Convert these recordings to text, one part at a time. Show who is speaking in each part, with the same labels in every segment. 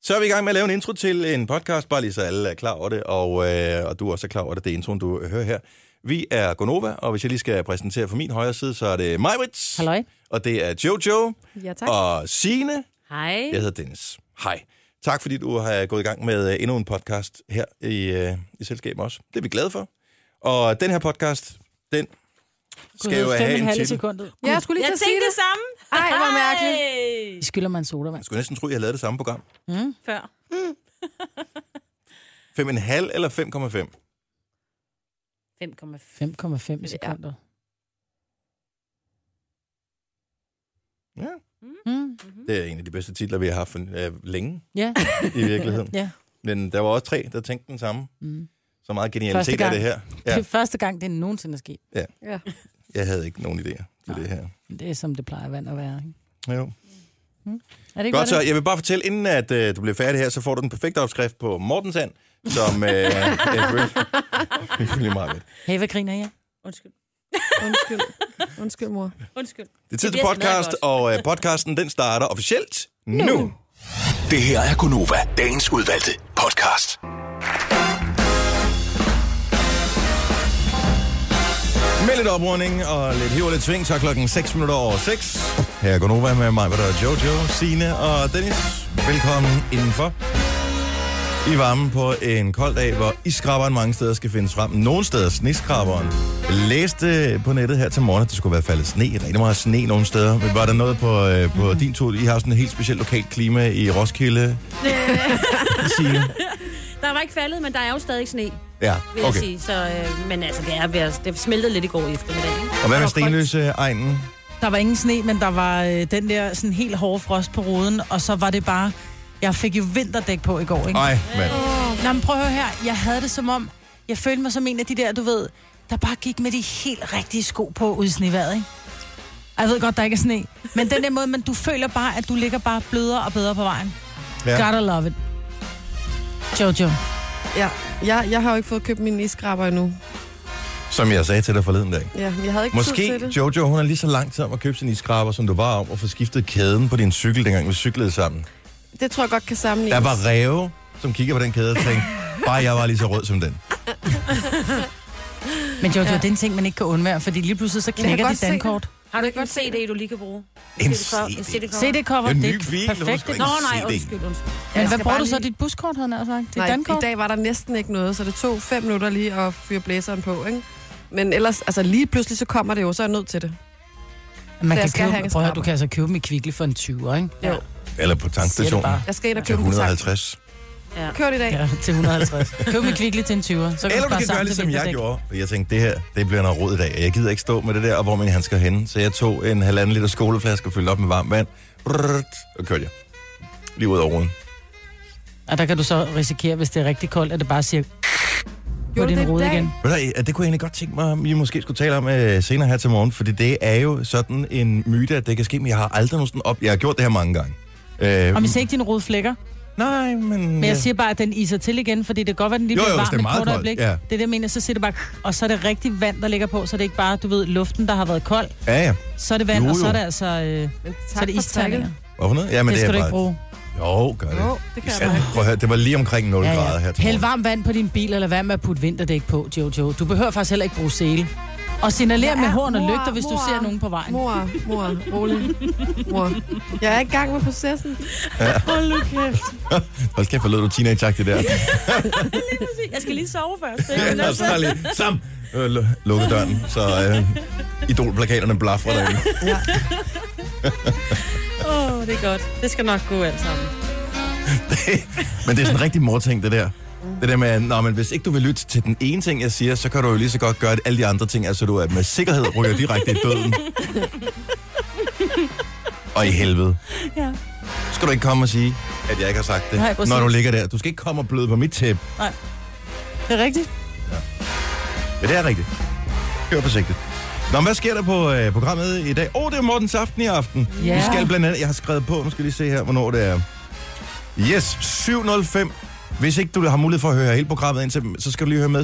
Speaker 1: Så er vi i gang med at lave en intro til en podcast, bare lige så alle er klar over det, og, øh, og du er også er klar over det, det er introen, du hører her. Vi er Gonova, og hvis jeg lige skal præsentere for min højre side, så er det Majbrits.
Speaker 2: Halløj.
Speaker 1: Og det er Jojo.
Speaker 3: Ja, tak.
Speaker 1: Og Sine.
Speaker 2: Hej.
Speaker 1: Jeg hedder Dennis. Hej. Tak fordi du har gået i gang med øh, endnu en podcast her i, øh, i selskabet også. Det er vi glade for. Og den her podcast, den skal jo have en titel.
Speaker 2: sekundet.
Speaker 3: Ja, jeg skulle lige
Speaker 2: Jeg
Speaker 3: til at sige
Speaker 2: tænkte
Speaker 3: det.
Speaker 2: det samme.
Speaker 3: Ej, hvor mærkeligt.
Speaker 2: I skylder mig en
Speaker 1: Jeg
Speaker 2: sodavand.
Speaker 1: skulle næsten tro, jeg havde lavet det samme program.
Speaker 2: Mm.
Speaker 4: Mm.
Speaker 2: Før.
Speaker 1: 5,5 eller 5,5?
Speaker 3: Mm.
Speaker 2: 5,5.
Speaker 4: 5,5 sekunder.
Speaker 1: Ja.
Speaker 4: Mm.
Speaker 1: Det er en af de bedste titler, vi har haft øh, længe
Speaker 4: Ja.
Speaker 1: i virkeligheden.
Speaker 4: Ja.
Speaker 1: Men der var også tre, der tænkte den samme.
Speaker 4: Mm.
Speaker 1: Så meget
Speaker 4: Første
Speaker 1: genialitet er
Speaker 4: gang.
Speaker 1: det her.
Speaker 4: Det
Speaker 1: Ja,
Speaker 4: er første gang, det nogensinde er sket.
Speaker 3: Ja.
Speaker 1: jeg havde ikke nogen idéer til
Speaker 4: Nej.
Speaker 1: det her.
Speaker 4: Men Det er som det plejer vand at være. Ikke? Mm.
Speaker 1: Jo.
Speaker 4: Er det ikke
Speaker 1: Godt, så
Speaker 4: det?
Speaker 1: jeg vil bare fortælle, inden at øh, du bliver færdig her, så får du den perfekte opskrift på Mortensand, som øh, er ifølge meget godt.
Speaker 4: Hey, hvad griner jeg?
Speaker 2: Undskyld.
Speaker 3: Undskyld. Undskyld, mor.
Speaker 2: Undskyld.
Speaker 1: Det er tid til
Speaker 2: bliver
Speaker 1: podcast,
Speaker 2: smadret
Speaker 1: og øh, podcasten den starter officielt nu. nu.
Speaker 5: Det her er Gonova, dagens udvalgte podcast.
Speaker 1: Med lidt oprunding og lidt hiv og lidt sving, så er klokken 6 minutter over 6. Her er Gunova med mig, hvor der er Jojo, Sine og Dennis. Velkommen indenfor. I varmen på en kold dag, hvor iskraberen mange steder skal findes frem. Nogle steder sneskraberen. Jeg læste på nettet her til morgen, at det skulle være faldet sne. Rigtig meget sne nogle steder. Men var der noget på, øh,
Speaker 2: Mhm.
Speaker 1: på din tur? I har sådan et helt specielt lokalt klima i Roskilde, Signe.
Speaker 2: Øh, Der var ikke faldet, men der er jo stadig sne, vil
Speaker 1: Ja,
Speaker 2: jeg
Speaker 1: okay.
Speaker 2: sige. Så, øh, men altså, det er ved at, det smeltede lidt i går eftermiddag. Ikke?
Speaker 1: Og hvad med
Speaker 2: Og koldt.
Speaker 1: Stenløse-egnen?
Speaker 4: Der var ingen sne, men der var øh, den der sådan helt hårde frost på ruden, og så var det bare... Jeg fik jo vinterdæk på i går, ikke? Øh,
Speaker 1: Ej, mand.
Speaker 4: Nå, men prøv at høre her. Jeg havde det som om... Jeg følte mig som en af de der, du ved, der bare gik med de helt rigtige sko på ude i snevejret, ikke? Og Jeg ved godt, der ikke er sne. Men den der måde, men du føler bare, at du ligger bare blødere og bedre på vejen.
Speaker 1: Ja.
Speaker 4: Gotta love it. Jojo.
Speaker 3: Ja, jeg, jeg har jo ikke fået købt min iskraber endnu.
Speaker 1: Som jeg sagde til dig forleden dag.
Speaker 3: Ja, jeg havde ikke tid til
Speaker 1: Måske
Speaker 3: det.
Speaker 1: Jojo, hun er lige så langt om at købe sin iskraber, som du var om at få skiftet kæden på din cykel, dengang vi cyklede sammen.
Speaker 3: Det tror jeg godt kan sammenlignes.
Speaker 1: Der var ræve, som kigger på den kæde og tænkte, bare jeg var lige så rød som den.
Speaker 4: Men Jojo, ja. det er en ting, man ikke kan undvære, fordi lige pludselig så
Speaker 3: Jeg kan
Speaker 4: knækker
Speaker 3: godt
Speaker 4: dit
Speaker 3: se
Speaker 4: dankort.
Speaker 2: Har du ikke en CD, du lige kan bruge?
Speaker 1: En
Speaker 2: CD-cover?
Speaker 1: CD.
Speaker 2: CD-cover?
Speaker 4: Se det cover,
Speaker 1: Det er en
Speaker 4: det
Speaker 1: ny bil,
Speaker 4: er
Speaker 1: hvorfor
Speaker 4: perfekt.
Speaker 1: skal
Speaker 4: ikke?
Speaker 2: Nå,
Speaker 4: Nå,
Speaker 1: en
Speaker 2: nej,
Speaker 1: CD.
Speaker 2: undskyld, undskyld.
Speaker 4: men hvad
Speaker 3: skal
Speaker 4: bruger
Speaker 3: bare
Speaker 4: du så
Speaker 3: lige-
Speaker 4: dit buskort, havde jeg nær sagt? Dit
Speaker 3: Nej, i
Speaker 4: dankort?
Speaker 3: dag var der næsten ikke noget, så det tog fem minutter lige at fyre blæseren på, ikke? Men ellers, altså lige pludselig, så kommer det jo, så er jeg nødt til det.
Speaker 4: Man
Speaker 3: Så
Speaker 4: kan
Speaker 3: jeg skal
Speaker 4: købe,
Speaker 3: have en
Speaker 4: prøv at høre,
Speaker 3: skrabber.
Speaker 4: du kan altså købe dem i Kvickly for en 20'er, ikke?
Speaker 3: Jo.
Speaker 1: Eller på tankstationen
Speaker 4: bare.
Speaker 3: Jeg skal ind og
Speaker 1: til
Speaker 3: købe den
Speaker 1: 150.
Speaker 3: Kørt i dag.
Speaker 4: Ja, til 150. Køb dem i Kvickly til en 20'er, så kan
Speaker 1: Eller du
Speaker 4: spare
Speaker 1: kan gøre
Speaker 4: sammen til
Speaker 1: ligesom jeg
Speaker 4: vinterdæk.
Speaker 1: gjorde. For Jeg tænkte, det her, det bliver noget rod i dag. og Jeg gider ikke stå med det der, og hvor min handsker henne. Så jeg tog en halvanden liter skoleflaske og fyldte op med varmt vand. Brrrt, og kørte jeg. Lige ud over ruden.
Speaker 4: Og der kan du så risikere, hvis det er rigtig koldt, at det bare siger på
Speaker 3: Gjorde det
Speaker 4: din
Speaker 3: i
Speaker 4: rode
Speaker 3: dag?
Speaker 4: igen.
Speaker 1: Ved du, hvad, det kunne jeg egentlig godt tænke mig, om I måske skulle tale om øh, senere her til morgen, fordi det er jo sådan en myte, at det kan ske, men jeg har aldrig nogensinde op... Jeg har gjort det her mange gange. Øh,
Speaker 4: Om jeg ser ikke din rode flækker,
Speaker 1: Nej, men...
Speaker 4: men jeg siger bare, at den iser til igen, fordi det kan godt være, at den lige
Speaker 1: Jo,
Speaker 4: bliver
Speaker 1: jo, hvis det er
Speaker 4: varm et
Speaker 1: meget
Speaker 4: kort
Speaker 1: koldt,
Speaker 4: øjeblik.
Speaker 1: ja.
Speaker 4: Det er det, jeg mener, så siger det bare, og så er det rigtig vand, der ligger på, så det er ikke bare, du ved, luften, der har været kold,
Speaker 1: Ja, ja.
Speaker 4: så er det vand,
Speaker 1: Jo,
Speaker 4: og så
Speaker 1: jo.
Speaker 4: er det altså, øh,
Speaker 3: Men
Speaker 4: så er
Speaker 3: tak
Speaker 4: det
Speaker 3: for takket.
Speaker 4: isterninger.
Speaker 1: Hvad for noget? Ja, men
Speaker 4: Det
Speaker 1: det,
Speaker 4: skal du
Speaker 1: er
Speaker 4: ikke
Speaker 1: bare...
Speaker 4: bruge.
Speaker 1: Jo, gør det.
Speaker 3: Jo, det kan jeg
Speaker 1: Især-
Speaker 3: bare.
Speaker 1: Prøv at høre, det var lige omkring 0 ja, ja. grader her til
Speaker 4: Hæld
Speaker 1: morgen.
Speaker 4: varmt vand på din bil, eller vær med at putte vinterdæk på, Jojo. Du behøver faktisk heller ikke bruge sele. Og signaler
Speaker 3: Ja,
Speaker 4: med horn og
Speaker 3: mor,
Speaker 4: lygter, hvis du
Speaker 3: mor.
Speaker 4: ser nogen på vejen.
Speaker 3: Mor, mor, rolig. Mor. Jeg er i gang med processen.
Speaker 4: Hold nu kæft.
Speaker 1: Hold kæft, hvor lød du teenage-agtig der.
Speaker 2: Jeg skal lige sove først.
Speaker 1: ja, så er
Speaker 4: altså-
Speaker 1: lige... Sam! Øh, lu- lukker døren, så øh, idolplakaterne blafrer derinde.
Speaker 2: Åh, oh, det er godt. Det skal nok gå alt sammen.
Speaker 1: men det er sådan en rigtig morting, det der. Det der med, at, nå, men hvis ikke du vil lytte til den ene ting, jeg siger, så kan du jo lige så godt gøre alle de andre ting, altså du er med sikkerhed ryger direkte i døden. og i helvede.
Speaker 4: Ja.
Speaker 1: Så skal du ikke komme og sige, at jeg ikke har sagt det,
Speaker 4: Nej, præcis.
Speaker 1: når du ligger der. Du skal ikke komme og bløde på mit tæppe.
Speaker 4: Det er rigtigt.
Speaker 1: Men det er rigtigt. Kør forsigtigt. Nå, men hvad sker der på øh, programmet i dag? Åh, oh, det er Mortens aften i aften.
Speaker 4: Ja.
Speaker 1: Vi skal blandt andet... Jeg har skrevet på, nu skal jeg lige se her, hvornår det er. Yes, 7.05. Hvis ikke du har mulighed for at høre hele programmet indtil, så skal du lige høre med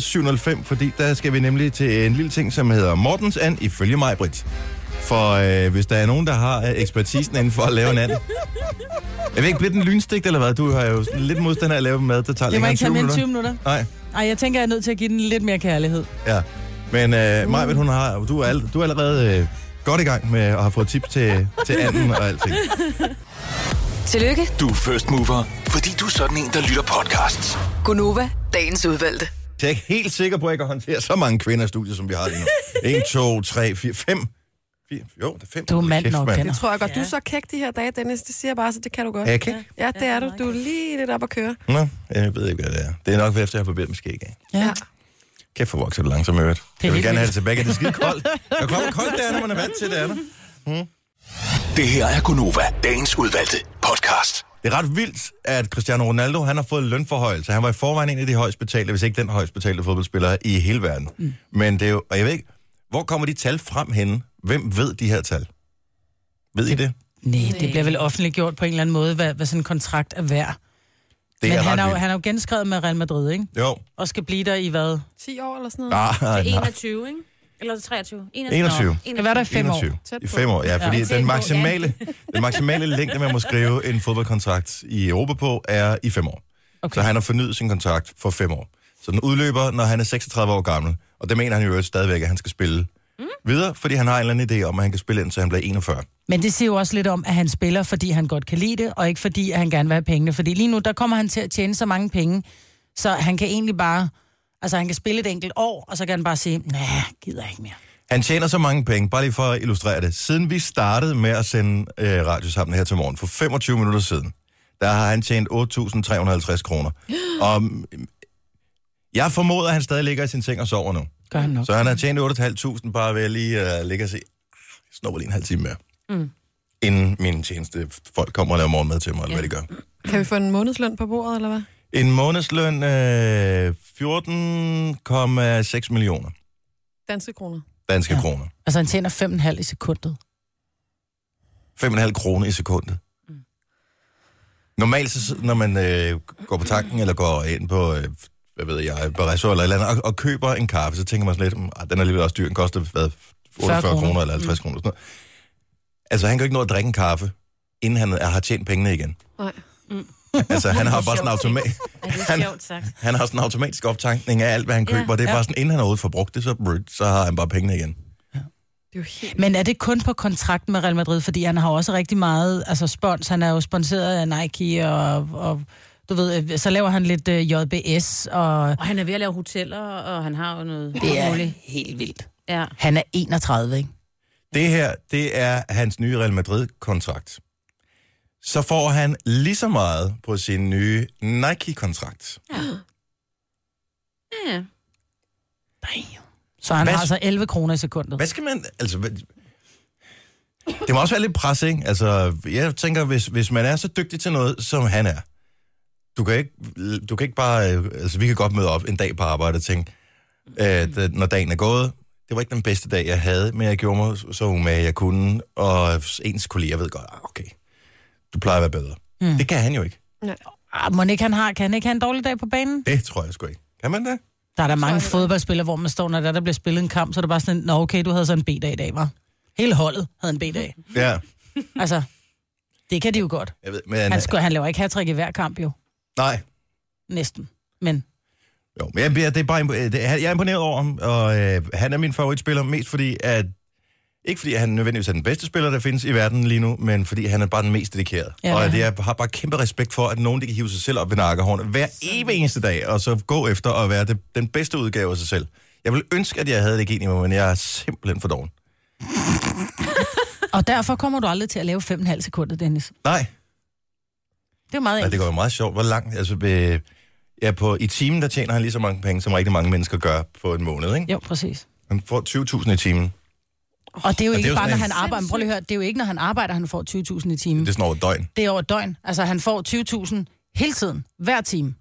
Speaker 1: 7.05, fordi der skal vi nemlig til en lille ting, som hedder Mortens And, ifølge mig, Britt. For øh, hvis der er nogen, der har øh, ekspertisen inden for at lave en anden. Jeg ved ikke, bliver den lynstegt eller hvad? Du har jo sådan lidt modstand af at lave mad, der tager
Speaker 4: Det må
Speaker 1: længere end
Speaker 4: ikke tage
Speaker 1: 20
Speaker 4: mere end
Speaker 1: minutter.
Speaker 4: 20 minutter.
Speaker 1: Nej,
Speaker 4: Ej, jeg tænker, jeg er nødt til at give den lidt mere kærlighed.
Speaker 1: ja. Men
Speaker 4: Mm.
Speaker 1: øh, Majbet, hun har, du, er, all- du er allerede øh, godt i gang med at have fået tips til, til anden og alting.
Speaker 6: Tillykke,
Speaker 5: Du er first mover, fordi du er sådan en, der lytter podcasts.
Speaker 6: Gunova, dagens udvalgte.
Speaker 1: Så jeg er ikke helt sikker på, at jeg kan håndtere så mange kvinder i studiet, som vi har lige nu. 1, 2, 3, 4, 5. Jo, det er 5.
Speaker 4: Du er mand nok,
Speaker 3: Det
Speaker 4: Kenneth.
Speaker 3: tror jeg godt. Du er så kæk de her dage, Dennis. Det siger jeg bare, så det kan du godt.
Speaker 1: Er jeg kæk?
Speaker 3: Ja, det er du. Du er lige lidt op at køre.
Speaker 1: Nå, jeg ved ikke, hvad det er. Det er nok efter, jeg har barberet med skæg af.
Speaker 4: Ja.
Speaker 1: Kæft for vokset langsomt, øvrigt. Jeg vil
Speaker 4: helt
Speaker 1: gerne have det tilbage. Det er skide koldt. Jeg kommer koldt, det er, når man er vant til det, er der.
Speaker 5: Det her er Gunova, dagens udvalgte podcast.
Speaker 1: Det er ret vildt, at Cristiano Ronaldo han har fået lønforhøjelse. Han var i forvejen en af de højst betalte, hvis ikke den højst betalte fodboldspiller i hele verden. Mm. Men det er jo, og jeg ved ikke, hvor kommer de tal frem henne? Hvem ved de her tal? Ved I det?
Speaker 4: Nej, det bliver vel offentliggjort på en eller anden måde, hvad, hvad sådan en kontrakt er værd.
Speaker 1: Det
Speaker 4: Men
Speaker 1: er
Speaker 4: han
Speaker 1: ret
Speaker 4: har, jo,
Speaker 1: vildt.
Speaker 4: han har jo genskrevet med Real Madrid, ikke?
Speaker 1: Jo.
Speaker 4: Og skal blive der i hvad?
Speaker 3: 10 år eller sådan noget.
Speaker 1: Nej, Ah, nej.
Speaker 2: 21, ikke? Eller 23?
Speaker 1: 21.
Speaker 2: Nå,
Speaker 4: Kan være der i fem
Speaker 1: 21.
Speaker 4: år.
Speaker 3: Tæt
Speaker 1: I
Speaker 3: på.
Speaker 1: fem år, ja, fordi
Speaker 2: Ja,
Speaker 1: ja,
Speaker 2: tæt
Speaker 1: den,
Speaker 2: på,
Speaker 1: maksimale, den maksimale længde, man må skrive en fodboldkontrakt i Europa på, er i fem år. Okay. Så han har fornyet sin kontrakt for fem år. Så den udløber, når han er 36 år gammel. Og det mener han jo øvrigt stadigvæk, at han skal spille mm. videre, fordi han har en eller anden idé om, at han kan spille ind, så han bliver 41.
Speaker 4: Men det siger jo også lidt om, at han spiller, fordi han godt kan lide det, og ikke fordi, at han gerne vil have pengene. Fordi lige nu, der kommer han til at tjene så mange penge, så han kan egentlig bare... Altså, han kan spille et enkelt år, og så kan han bare sige, nej, gider jeg ikke mere.
Speaker 1: Han tjener så mange penge, bare lige for at illustrere det. Siden vi startede med at sende øh, radio sammen her til morgen, for 25 minutter siden, der har han tjent 8.350 kroner. Og øh, jeg formoder, at han stadig ligger i sin seng og sover nu.
Speaker 4: Gør han nok.
Speaker 1: Så han har tjent 8.500 bare ved at lige uh, ligge og se, "Ah, jeg snupper lige en halv time mere. Mm. Inden mine tjeneste folk kommer og laver morgenmad til mig, eller hvad de gør.
Speaker 3: Kan vi få en månedsløn på bordet, eller hvad?
Speaker 1: En månedsløn øh, 14,6 millioner
Speaker 3: Danske kroner.
Speaker 1: danske
Speaker 4: Ja.
Speaker 1: ja. kroner.
Speaker 4: Altså, han tjener 5,5 i sekundet.
Speaker 1: 5,5 kroner i sekundet. Normalt, så, sidder- når man øh, går på tanken, eller går ind på, øh, hvad ved jeg, Barresso eller et eller andet, og, og køber en kaffe, så tænker man sådan lidt, "Mm, ah, den er alligevel også dyr, den koster hvad, 48
Speaker 4: kroner.
Speaker 1: kroner. eller 50 mm. kroner. Sådan noget. Altså, han kan jo ikke nå at drikke en kaffe, inden han er- har tjent pengene igen.
Speaker 3: Nej.
Speaker 1: Altså, han har bare sådan en automat...
Speaker 2: Er det
Speaker 1: Han-
Speaker 2: er sjovt sagt?
Speaker 1: Han har sådan en automatisk optankning af alt, hvad han
Speaker 2: Ja.
Speaker 1: køber. Ja, det er bare sådan, inden han er ude forbrugt det, så, så har han bare pengene igen.
Speaker 3: Det er jo helt...
Speaker 4: Men er det kun på kontrakt med Real Madrid? Fordi han har også rigtig meget altså spons. Han er jo sponsoreret af Nike, og, og du ved, øh, så laver han lidt øh, JBS, og
Speaker 2: Og han er ved at lave hoteller, og han har jo noget...
Speaker 4: det er
Speaker 2: muligt.
Speaker 4: helt vildt.
Speaker 2: Ja.
Speaker 4: Han er 31, ikke?
Speaker 1: Det her, det er hans nye Real Madrid-kontrakt. Så får han lige så meget på sin nye Nike-kontrakt.
Speaker 2: ja.
Speaker 4: Nej. Så han
Speaker 1: Hvad-
Speaker 4: har altså 11 kroner i sekundet.
Speaker 1: Hvad skal man... Altså, hvad, det må også være lidt pres, ikke? Altså, jeg tænker, hvis, hvis man er så dygtig til noget, som han er, du kan ikke, du kan ikke bare... øh, Altså, vi kan godt møde op en dag på arbejde og tænke, øh, da, når dagen er gået, det var ikke den bedste dag, jeg havde, men jeg gjorde mig så umage, jeg kunne, og ens kolleger ved godt, ah, okay, du plejer at være bedre. Mm. Det kan han jo ikke.
Speaker 4: Ah, må ikke han har, kan han ikke have en dårlig dag på banen?
Speaker 1: Det tror jeg sgu ikke. Kan man det?
Speaker 4: Der er der mange fodboldspillere, hvor man står, når der, der bliver spillet en kamp, så er det bare sådan, en, nå okay, du havde så en B-dag i dag, var. Hele holdet havde en B-dag.
Speaker 1: Ja,
Speaker 4: Altså, det kan de jo godt.
Speaker 1: jeg ved, men...
Speaker 4: Han, skal, han laver ikke hat i hver kamp jo.
Speaker 1: Nej,
Speaker 4: Næsten. Men
Speaker 1: Jo, men jeg, bliver- det er bare, imp- øh, det, han- jeg er imponeret over ham, og øh, han er min favoritspiller, mest fordi, at ikke fordi han nødvendigvis er den bedste spiller, der findes i verden lige nu, men fordi han er bare den mest dedikerede.
Speaker 4: Ja,
Speaker 1: Ja, og
Speaker 4: det er
Speaker 1: det, jeg har bare kæmpe respekt for, at nogen de kan hive sig selv op ved nakkehårene hver evig eneste dag, og så gå efter at være det, den bedste udgave af sig selv. Jeg ville ønske, at jeg havde det gen i mig, men jeg er simpelthen for doven.
Speaker 4: Og derfor kommer du aldrig til at lave 5,5 sekunder, Dennis.
Speaker 1: Nej,
Speaker 4: Det er meget
Speaker 1: nej det
Speaker 4: enkelt.
Speaker 1: går jo meget sjovt. Hvor langt? Altså, øh, ja, på, I timen, der tjener han lige så mange penge, som rigtig mange mennesker gør på en måned. Ikke?
Speaker 4: Jo, præcis. Mm.
Speaker 1: Han får 20.000 i timen.
Speaker 4: Og det er jo
Speaker 1: det er
Speaker 4: ikke
Speaker 1: jo
Speaker 4: bare,
Speaker 1: sådan
Speaker 4: når
Speaker 1: en-
Speaker 4: han arbejder. Men Prøv lige at høre, det er jo ikke, når han arbejder, han får 20.000 i timen.
Speaker 1: Det er sådan over et døgn.
Speaker 4: Det er over et døgn. Altså, han får 20.000 hele tiden, hver time.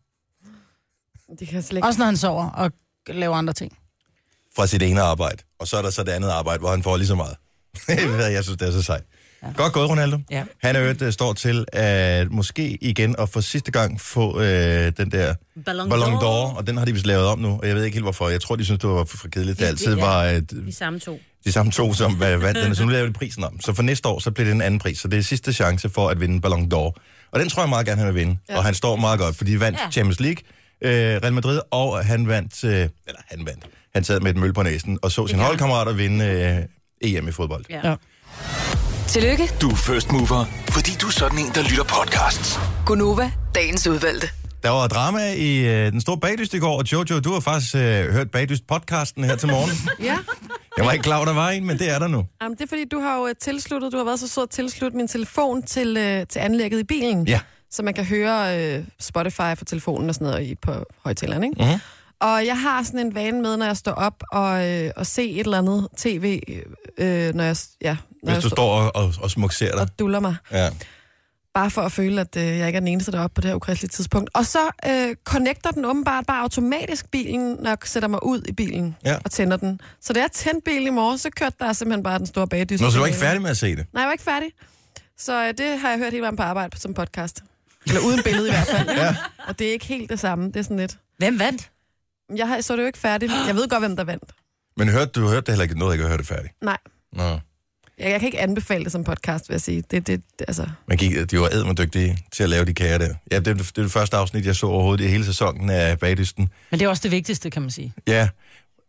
Speaker 3: Det kan jeg slet ikke.
Speaker 4: Også når han sover og laver andre ting.
Speaker 1: fra sit ene arbejde, og så er der så det andet arbejde, hvor han får lige så meget. Hvad jeg synes, det er så sejt. Godt gået, Ronaldo.
Speaker 4: Ja.
Speaker 1: Han er jo et, står til at måske igen og for sidste gang få øh, den der
Speaker 2: Ballon
Speaker 1: Ballon
Speaker 2: d'Or.
Speaker 1: d'Or, og den har de vist lavet om nu, og jeg ved ikke helt hvorfor. Jeg tror, de synes, det var for for kedeligt. Det
Speaker 2: Ja.
Speaker 1: altid var øh,
Speaker 2: De samme to.
Speaker 1: de samme to, som hvad- vandt den, så nu laver de prisen om. Så for næste år, så bliver det en anden pris, så det er sidste chance for at vinde Ballon d'Or. Og den tror jeg meget gerne, han vil vinde. Ja. Og han står meget godt, fordi de vandt ja.
Speaker 2: Ja.
Speaker 1: Champions League, øh, Real Madrid, og han vandt, øh, eller han vandt, han sad med et møl på næsen og så sin holdkammerater vinde øh, EM i fodbold. Ja.
Speaker 2: Ja.
Speaker 4: Ja.
Speaker 2: ja.
Speaker 6: Tillykke,
Speaker 5: Du er first mover, fordi du er sådan en, der lytter podcasts.
Speaker 6: Gunova, dagens udvalgte.
Speaker 1: Der var drama i øh, den store bagdyst i går, og Jojo, du har faktisk øh, hørt bagdyst-podcasten her til morgen.
Speaker 3: Ja.
Speaker 1: Jeg var ikke klar, over, der var en, men det er der nu.
Speaker 3: Jamen, det er fordi, du har jo øh, tilsluttet, du har været så sød at tilslutte min telefon til, øh, til anlægget i bilen.
Speaker 1: Ja.
Speaker 3: Så man kan høre øh, Spotify fra telefonen og sådan noget i, på højtaleren, ikke?
Speaker 1: Mhm.
Speaker 3: Mm-hmm. Og jeg har sådan en vane med, når jeg står op og, øh, og se et eller andet tv, øh, når jeg, s- ja, når
Speaker 1: Hvis
Speaker 3: jeg
Speaker 1: du står og, og, og smukser dig.
Speaker 3: og duller mig.
Speaker 1: Ja.
Speaker 3: Bare for at føle, at øh, jeg ikke er den eneste, der er oppe på det her ukristelige tidspunkt. Og så øh, connecter den åbenbart bare automatisk bilen, når jeg sætter mig ud i bilen
Speaker 1: Ja.
Speaker 3: og tænder den. Så da jeg tændte bilen i morgen, så kørte der simpelthen bare den store bagdyst.
Speaker 1: Nå, så du var ikke færdig med at se det?
Speaker 3: Nej, jeg var ikke færdig. Så øh, det har jeg hørt hele vejen på arbejde som podcast. Eller uden billede i hvert fald. ja. Og det er ikke helt det samme. Det er sådan lidt...
Speaker 4: Hvem vandt?
Speaker 3: Jeg har, så det jo ikke færdigt. Jeg ved godt, hvem der vandt.
Speaker 1: Men hørte, du hørte det heller ikke noget, jeg ikke hørte det færdigt.
Speaker 3: Nej,
Speaker 1: Nå.
Speaker 3: jeg, jeg kan ikke anbefale det som podcast, vil jeg sige. Det, det, det altså...
Speaker 1: Man gik, de var eddermandygtige til at lave de kager der. Ja, det, det er det første afsnit, jeg så overhovedet i hele sæsonen af Bagdysten.
Speaker 4: Men det er også det vigtigste, kan man sige.
Speaker 1: Ja,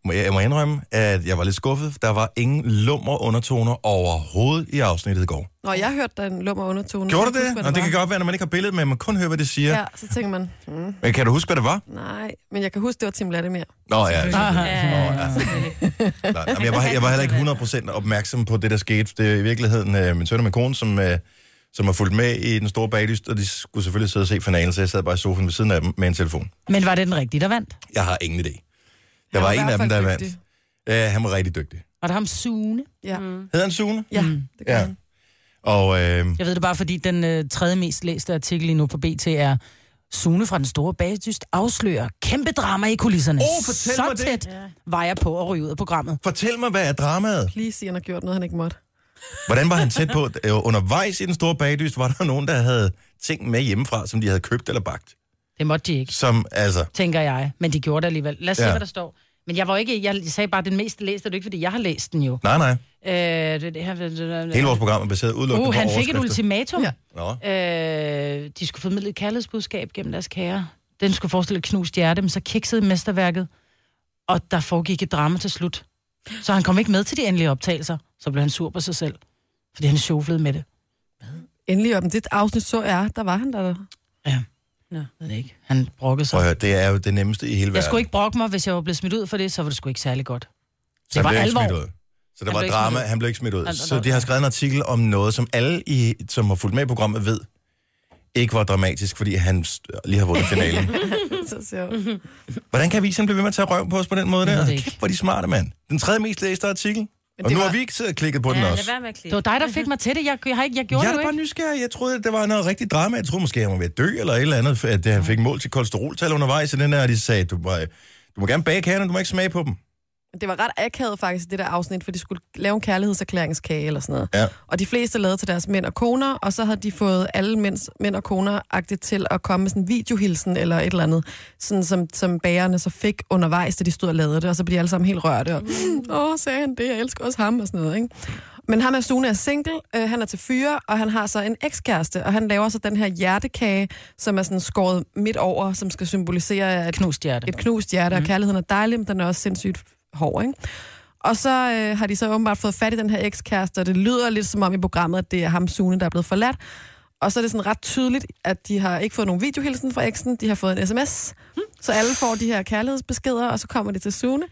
Speaker 1: må jeg, jeg må indrømme, at jeg var lidt skuffet. Der var ingen lummer undertoner overhovedet i afsnittet i går.
Speaker 3: Nå, jeg hørte der en lummer undertone.
Speaker 1: Gjorde
Speaker 3: Jeg
Speaker 1: du
Speaker 3: kan
Speaker 1: det?
Speaker 3: ikke huske,
Speaker 1: Nå,
Speaker 3: hvad
Speaker 1: det kan
Speaker 3: var.
Speaker 1: godt være, når man ikke har billedet med, man kun hører, hvad det siger. Ja.
Speaker 3: Ja, så tænker man, hmm,
Speaker 1: Men kan du huske, hvad det var?
Speaker 3: nej, men jeg kan huske, det var Tim Latimer.
Speaker 1: Nå ja,
Speaker 4: Aha.
Speaker 1: Nej, jamen, jeg, var, jeg var heller ikke 100% opmærksom på det, der skete. Det er i virkeligheden øh, min søn og min kone, som, øh, som har fulgt med i den store baglyst, og de skulle selvfølgelig sidde og se finalen, så jeg sad bare i sofaen ved siden af dem med en telefon.
Speaker 4: Men var det den rigtige, der vandt?
Speaker 1: Jeg har ingen idé. Der
Speaker 3: Han
Speaker 1: var
Speaker 3: var i
Speaker 1: en
Speaker 3: hvert
Speaker 1: af dem, der
Speaker 3: fald
Speaker 1: vandt.
Speaker 3: dygtig.
Speaker 1: Øh, han var rigtig dygtig.
Speaker 4: Var det ham Sune? Mm.
Speaker 3: Ja,
Speaker 1: Hed han Sune?
Speaker 3: ja det gør
Speaker 1: Ja.
Speaker 3: han.
Speaker 1: Og øh,
Speaker 4: Jeg ved det bare, fordi den øh, tredje mest læste artikel lige nu på BT er Sune fra den store bagdyst afslører kæmpe drama i kulisserne.
Speaker 1: Åh, fortæl
Speaker 4: Så
Speaker 1: mig det.
Speaker 4: tæt var jeg på at ryge ud af programmet.
Speaker 1: fortæl mig, hvad er dramaet?
Speaker 3: Lige siger, han har gjort noget, han ikke måtte.
Speaker 1: Hvordan var han tæt på? Øh, undervejs i den store baglyst var der nogen, der havde ting med hjemmefra, som de havde købt eller bagt.
Speaker 4: Det måtte de ikke,
Speaker 1: Som, altså,
Speaker 4: tænker jeg. Men de gjorde det alligevel. Lad os ja.
Speaker 1: Ja.
Speaker 4: se, hvad der står. Men jeg var ikke, jeg sagde bare, den mest læste, og det er ikke, fordi jeg har læst den jo.
Speaker 1: nej, nej.
Speaker 4: Øh, det, det her, det, det,
Speaker 1: Hele vores program er baseret udelukkende
Speaker 4: uh,
Speaker 1: på
Speaker 4: han fik et
Speaker 1: overskrifter.
Speaker 4: ultimatum.
Speaker 3: Ja.
Speaker 1: Nå.
Speaker 4: Øh, de skulle formidle et kærlighedsbudskab gennem deres kære. Den skulle forestille et knust hjerte, men så kiksede mesterværket, og der foregik et drama til slut. Så han kom ikke med til de endelige optagelser. Så blev han sur på sig selv, fordi han sjovlede med det.
Speaker 3: Endelig om det afsnit så jeg, der var han der.
Speaker 4: Ja. Nå. Ved det ikke. Han brokkede
Speaker 1: Prøv
Speaker 4: sig.
Speaker 1: at høre, det er jo det nemmeste i hele verden.
Speaker 4: Jeg skulle ikke brokke mig, hvis jeg var blevet smidt ud for det, så var det sgu ikke særlig godt.
Speaker 1: Så
Speaker 4: Det var
Speaker 1: han blev ikke
Speaker 4: alvor.
Speaker 1: smidt ud. Så der
Speaker 4: Han
Speaker 1: var
Speaker 4: blev ikke
Speaker 1: drama,
Speaker 4: smidt ud.
Speaker 1: han blev ikke smidt ud.
Speaker 4: Han-
Speaker 1: Så de har skrevet en artikel om noget, som alle, i, som har fulgt med i programmet, ved ikke var dramatisk, fordi han st- lige har vundet finalen.
Speaker 3: Så sjovt.
Speaker 1: Hvordan kan avisen blive ved med at tage røv på os på den måde
Speaker 4: Jeg ved
Speaker 1: der?
Speaker 4: det ikke.
Speaker 1: Kæft, hvor er de smarte, mand. Den tredje mest læste artikel. Og
Speaker 3: det
Speaker 1: nu har
Speaker 3: var-
Speaker 1: vi ikke siddet og klikket på den
Speaker 2: Ja,
Speaker 1: også.
Speaker 2: lad være med at
Speaker 4: Det
Speaker 2: klikke.
Speaker 4: var dig, der fik mig til det. Jeg, jeg, har ikke, jeg gjorde
Speaker 1: Jeg er
Speaker 4: det
Speaker 1: da
Speaker 4: jo
Speaker 1: bare
Speaker 4: ikke.
Speaker 1: nysgerrig. Jeg troede, at det var noget rigtig drama. Jeg troede måske, at han var ved at dø eller et eller andet, at øh, han fik mål til kolesteroltal undervejs. Og den der, de sagde, du må, øh, du må gerne bage kagerne, du må ikke smage på dem.
Speaker 3: Det var ret akavet faktisk, det der afsnit, for de skulle lave en kærlighedserklæringskage eller sådan noget.
Speaker 1: Ja.
Speaker 3: Og de fleste lavede til deres mænd og koner, og så havde de fået alle mænds, mænd og koner-agtigt til at komme med sådan en videohilsen eller et eller andet, sådan som, som bagerne så fik undervejs, da de stod og lavede det, og så blev de alle sammen helt rørte. Og, Åh, sagde han det, jeg elsker også ham og sådan noget, ikke? Men ham er Sune er single, øh, han er til fyre, og han har så en ekskæreste, og han laver så den her hjertekage, som er sådan skåret midt over, som skal symbolisere, at
Speaker 4: Knust hjerte.
Speaker 3: et knust hjerte, mm. og kærligheden er dejlig, men den er også sindssygt hård, ikke? Og så øh, har de så åbenbart fået fat i den her ekskæreste, og det lyder lidt som om i programmet, at det er ham Sune, der er blevet forladt. Og så er det sådan ret tydeligt, at de har ikke fået nogen videohilsen fra eksen, de har fået en sms. Så alle får de her kærlighedsbeskeder, og så kommer de til Sune.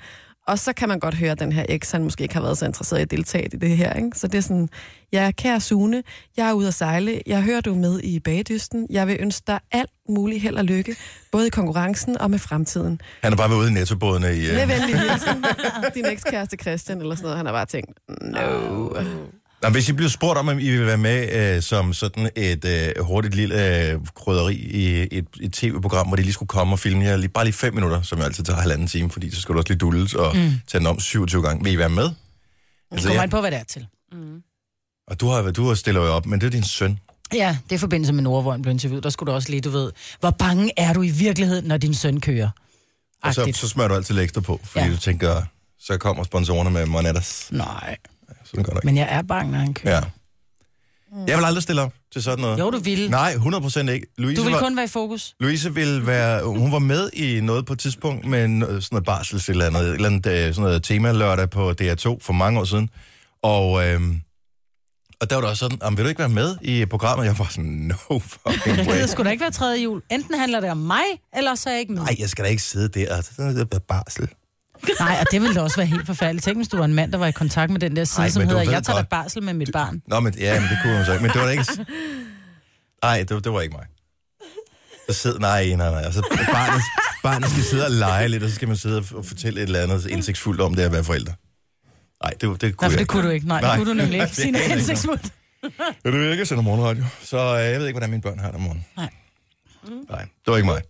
Speaker 3: Og så kan man godt høre, at den her eks, han måske ikke har været så interesseret i at deltage i det her. Ikke? Så det er sådan, ja, kære Sune, jeg er ude at sejle. Jeg hører, du er med i bagdysten. Jeg vil ønske dig alt muligt held og lykke, både i konkurrencen og med fremtiden.
Speaker 1: Han er bare ved ude i nettobådene i... øh,
Speaker 3: Med venlig hilsen, din ekskæreste Christian, eller sådan noget. Han har bare tænkt, no.
Speaker 1: Nå, hvis I bliver spurgt om, om I vil være med øh, som sådan et øh, hurtigt lille øh, krydderi i et, et tv-program, hvor de lige skulle komme og filme jer lige, bare lige fem minutter, som jo altid tager halvanden time, fordi så skal du også lige dulles og mm. tage den om 27 gange. Vil I være med?
Speaker 4: Det kommer an på, hvad det er til.
Speaker 1: Og du har været, du har stiller jo op, men det er din søn.
Speaker 4: Ja, det er i forbindelse med Nora, hvor han blev interviewet. Der skulle du også lige, du ved, hvor bange er du i virkeligheden, når din søn kører?
Speaker 1: Og så,
Speaker 4: Agtigt.
Speaker 1: så smører du altid lidt ekstra på, fordi ja.
Speaker 4: Ja.
Speaker 1: du tænker, så kommer sponsorerne med Monetas.
Speaker 4: Nej,
Speaker 1: Sådan gør du ikke.
Speaker 4: men jeg er bange, når han kører.
Speaker 1: Ja. Jeg vil aldrig stille op til sådan noget.
Speaker 4: Mm. Jo, du ville.
Speaker 1: Nej, 100% ikke. Louise
Speaker 4: Du vil
Speaker 1: var,
Speaker 4: kun være i fokus.
Speaker 1: Louise ville være, hun var med i noget på et tidspunkt med no- sådan noget barsels eller andet, et eller andet øh, sådan noget tema lørdag på DR2 for mange år siden. Og, øhm, og der var det også sådan, "Jamen, vil du ikke være med i programmet? Jeg var sådan, no fucking
Speaker 4: Jeg
Speaker 1: way.
Speaker 4: gider sgu da ikke være tredje jul. Enten handler det om mig, eller så er jeg ikke med.
Speaker 1: Nej, jeg skal da ikke sidde der. Det er bare barsel.
Speaker 4: Nej, og det ville da også være helt forfærdeligt. Tænk, hvis du var en mand, der var i kontakt med den der side,
Speaker 1: Ej,
Speaker 4: Ej, som
Speaker 1: men du
Speaker 4: hedder,
Speaker 1: ved
Speaker 4: jeg tager da
Speaker 1: godt-
Speaker 4: barsel med mit barn.
Speaker 1: Nå, men ja, men det kunne hun så ikke. Men det var da ikke...
Speaker 7: Mm.
Speaker 1: Nej, det, det var ikke mig. Så sid, nej, nej, nej. Altså, barnet, barnet skal sidde og lege lidt, og så skal man sidde og, og fortælle et eller andet indsigtsfuldt om det at være forældre. Nej, det, det kunne
Speaker 4: Nej, for
Speaker 1: jeg
Speaker 4: det kunne du ikke. Nej, det kunne du nemlig ikke.
Speaker 1: Det er
Speaker 4: Signe
Speaker 1: ikke noget.
Speaker 4: hensigtsfuldt.
Speaker 1: Ved du, jeg kan sende morgenradio, så øh, jeg ved ikke, hvordan mine børn har det om morgenen.
Speaker 4: Nej.
Speaker 1: Nej, det var ikke mig.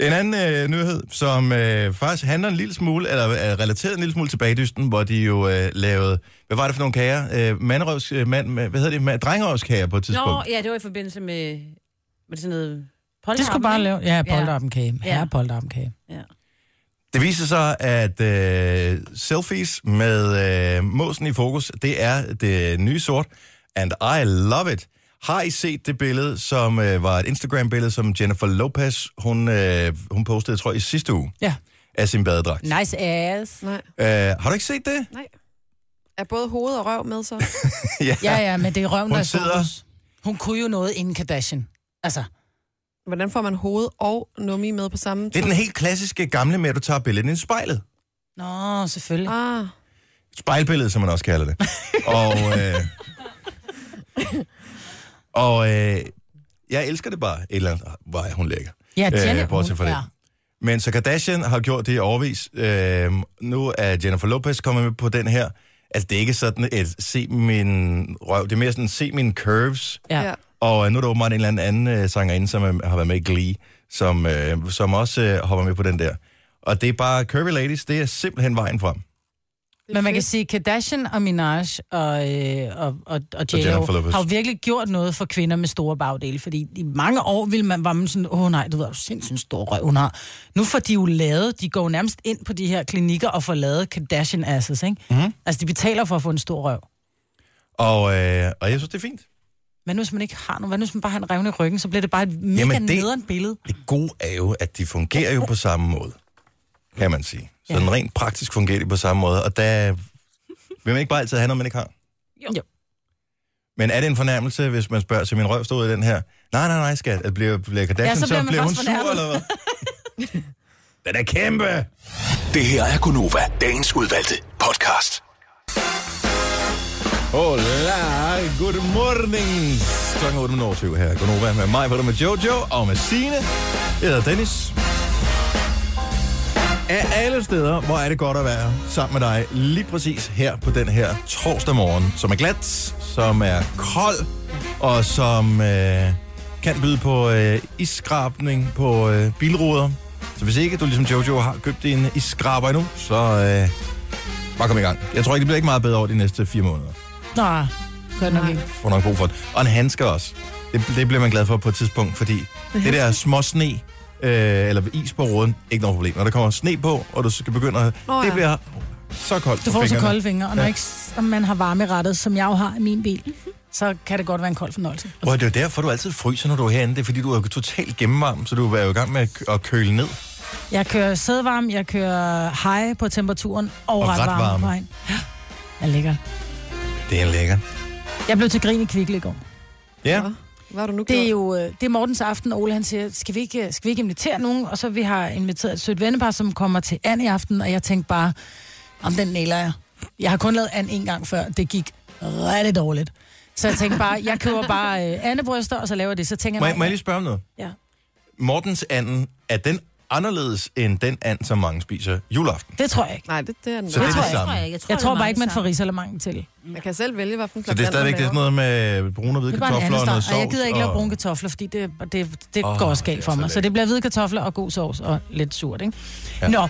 Speaker 1: En anden øh, nyhed, som øh, faktisk handler en lille smule, eller er relateret en lille smule til bagdysten, hvor de jo øh, lavede, hvad var det for nogle kager? Øh, mandrøvs, øh, mand, hvad hedder det? Ma- Drengerøvskager på et tidspunkt.
Speaker 2: Nå, ja, det var i forbindelse med, var det sådan noget polterabend,
Speaker 4: Det skulle bare
Speaker 2: ikke?
Speaker 4: lave. Ja, polterappenkage.
Speaker 2: Ja.
Speaker 4: Ja, polterappenkage.
Speaker 2: Ja.
Speaker 1: Det viser sig, at øh, selfies med øh, måsen i fokus, det er det nye sort. And I love it. Har I set det billede, som øh, var et Instagram-billede, som Jennifer Lopez, hun, øh, hun postede, tror jeg, i sidste uge,
Speaker 4: Ja.
Speaker 1: af sin badedragt?
Speaker 4: Nice ass.
Speaker 3: Nej,
Speaker 1: Øh, har du ikke set det?
Speaker 3: nej. Er både hoved og røv med så?
Speaker 4: Ja, ja, men det er røven,
Speaker 1: Hun
Speaker 4: der er i
Speaker 1: sidder-
Speaker 4: fokus. Hun kunne jo noget inden Kardashian. Altså,
Speaker 3: Hvordan får man hoved og nummi med på samme
Speaker 1: Det er
Speaker 3: tid?
Speaker 1: den helt klassiske gamle med, at du tager billedet ind i spejlet.
Speaker 4: nå, selvfølgelig.
Speaker 3: Ah,
Speaker 1: Spejlbillede, som man også kalder det. og øh, og øh, jeg elsker det bare. Et eller andet vej, hun lægger.
Speaker 4: Ja, Jennifer,
Speaker 1: Øh, bortset fra
Speaker 4: hun-
Speaker 1: det.
Speaker 4: ja.
Speaker 1: Men så Kardashian har gjort det i overvis. Øh, nu er Jennifer Lopez kommet med på den her. Altså, det er ikke sådan et se min røv. Det er mere sådan se mine curves.
Speaker 4: Ja.
Speaker 3: ja.
Speaker 1: Og øh, nu er der åbenbart en eller anden, anden øh, sangerinde, som øh, har været med i Glee, som, øh, som også øh, hopper med på den der. Og det er bare Curvy Ladies, det er simpelthen vejen frem.
Speaker 4: Men man kan sige, Kardashian og Minaj og, øh, og, og, og J.Lo
Speaker 1: Jennifer Lopez.
Speaker 4: har jo virkelig gjort noget for kvinder med store bagdele, fordi i mange år ville man, var man sådan, åh nej, du ved, er du sindssygt en stor røv, hun har. Nu får de jo lavet, de går jo nærmest ind på de her klinikker og får lavet Kardashian-asses, ikke? Mm-hmm. Altså, de betaler for at få en stor røv.
Speaker 1: Og, øh, og jeg synes, det er fint.
Speaker 4: Men nu, hvis man ikke har nogen, hvad nu, hvis man bare har en revne i ryggen, så bliver det bare et
Speaker 1: Jamen,
Speaker 4: mega Jamen,
Speaker 1: det-
Speaker 4: det... nederen billede.
Speaker 1: Det gode er jo, at de fungerer jo på samme måde, kan man sige. Sådan
Speaker 4: Ja.
Speaker 1: rent praktisk fungerer de på samme måde, og der vil man ikke bare altid have noget, man ikke har.
Speaker 2: Jo.
Speaker 4: Jo.
Speaker 1: Men er det en fornærmelse, hvis man spørger, til min røv stod i den her? Nej, nej, nej, skat. At Bliver, bliver Kardashian,
Speaker 4: Ja,
Speaker 1: så
Speaker 4: så
Speaker 1: bliver,
Speaker 4: bliver
Speaker 1: så
Speaker 4: man
Speaker 1: bliver hun
Speaker 4: først
Speaker 1: sur,
Speaker 4: fornærmet.
Speaker 1: eller hvad? den er kæmpe!
Speaker 5: Det her er Gunova, dagens udvalgte podcast.
Speaker 1: Hola, good morning. Klokken 8.07 her. Godnova med mig, hvor du med Jojo og med Sine. Jeg hedder Dennis. Af alle steder, hvor er det godt at være sammen med dig lige præcis her på den her torsdag morgen, som er glat, som er kold, og som øh, kan byde på øh, isskrabning på øh, bilruder. Så hvis ikke du ligesom Jojo har købt en isskraber endnu, så øh, bare kom i gang. Jeg tror ikke, det bliver ikke meget bedre over de næste fire måneder
Speaker 4: Nå, gør nok ikke.
Speaker 1: får nok brug for det. Og en handske også. Det, det bliver man glad for på et tidspunkt, fordi det der små sne, øh, eller is på råden, ikke noget problem. Når der kommer sne på, og du skal begynde at...
Speaker 3: Nå ja.
Speaker 1: Det bliver så koldt
Speaker 4: Du
Speaker 1: på
Speaker 4: får så
Speaker 1: fingrene.
Speaker 4: kolde fingre, og når
Speaker 1: Ja.
Speaker 4: ja. ikke s- man har varme rettet, som jeg jo har i min bil, så kan det godt være en kold fornøjelse.
Speaker 1: Prøv, at- det er jo derfor, du altid fryser, når du er herinde. Det er fordi, du er totalt gennemvarm, så du er jo i gang med at, kø- at køle ned.
Speaker 4: Jeg kører sædevarme, jeg kører high på temperaturen og,
Speaker 1: Og
Speaker 4: og ret,
Speaker 1: ret
Speaker 4: ret
Speaker 1: varme.
Speaker 4: varme. på vejen. Ja, lækker.
Speaker 1: Det er lækkert.
Speaker 4: Jeg blev til grin i Kvickle i går.
Speaker 1: Ja.
Speaker 3: Nå. Hvad har du nu gjort?
Speaker 4: Det er jo øh, det er Mortens aften, og Ole han siger, skal vi, ikke, øh, skal vi ikke invitere nogen? Og så vi har inviteret et sødt vennepar, som kommer til Anne i aften, og jeg tænkte bare, om den næler jeg. Jeg har kun lavet Anne en gang før, det gik rigtig dårligt. Så jeg tænkte bare, jeg køber bare øh, Anne-bryster, og så laver jeg det. Så tænker
Speaker 1: Må,
Speaker 4: jeg,
Speaker 1: jeg- må jeg lige spørge om noget?
Speaker 4: Ja.
Speaker 1: Mortens anden, er den anderledes end den and, som mange spiser juleaften?
Speaker 4: det tror jeg ikke.
Speaker 3: Nej, det, det er den.
Speaker 1: Så det er
Speaker 4: tror
Speaker 1: det
Speaker 4: jeg ikke.
Speaker 1: samme.
Speaker 2: jeg
Speaker 4: Jeg tror
Speaker 2: det er
Speaker 4: bare ikke, man
Speaker 2: mange
Speaker 4: får risalemangen til.
Speaker 3: Man kan selv vælge, hvad for en
Speaker 1: Så det er stadigvæk det er sådan noget med brune og hvide
Speaker 4: Det er bare en
Speaker 1: kartofler og
Speaker 4: anden
Speaker 1: noget
Speaker 4: start,
Speaker 1: sovs.
Speaker 4: og jeg gider ikke lave
Speaker 1: og-
Speaker 4: brune kartofler, fordi det, det, det
Speaker 1: Åh,
Speaker 4: oh, går også galt
Speaker 1: det er
Speaker 4: for
Speaker 1: så
Speaker 4: mig. Så
Speaker 1: lækkert.
Speaker 4: det bliver hvide kartofler og god sovs og lidt surt, ikke?
Speaker 1: Ja.
Speaker 4: Ja. Nå,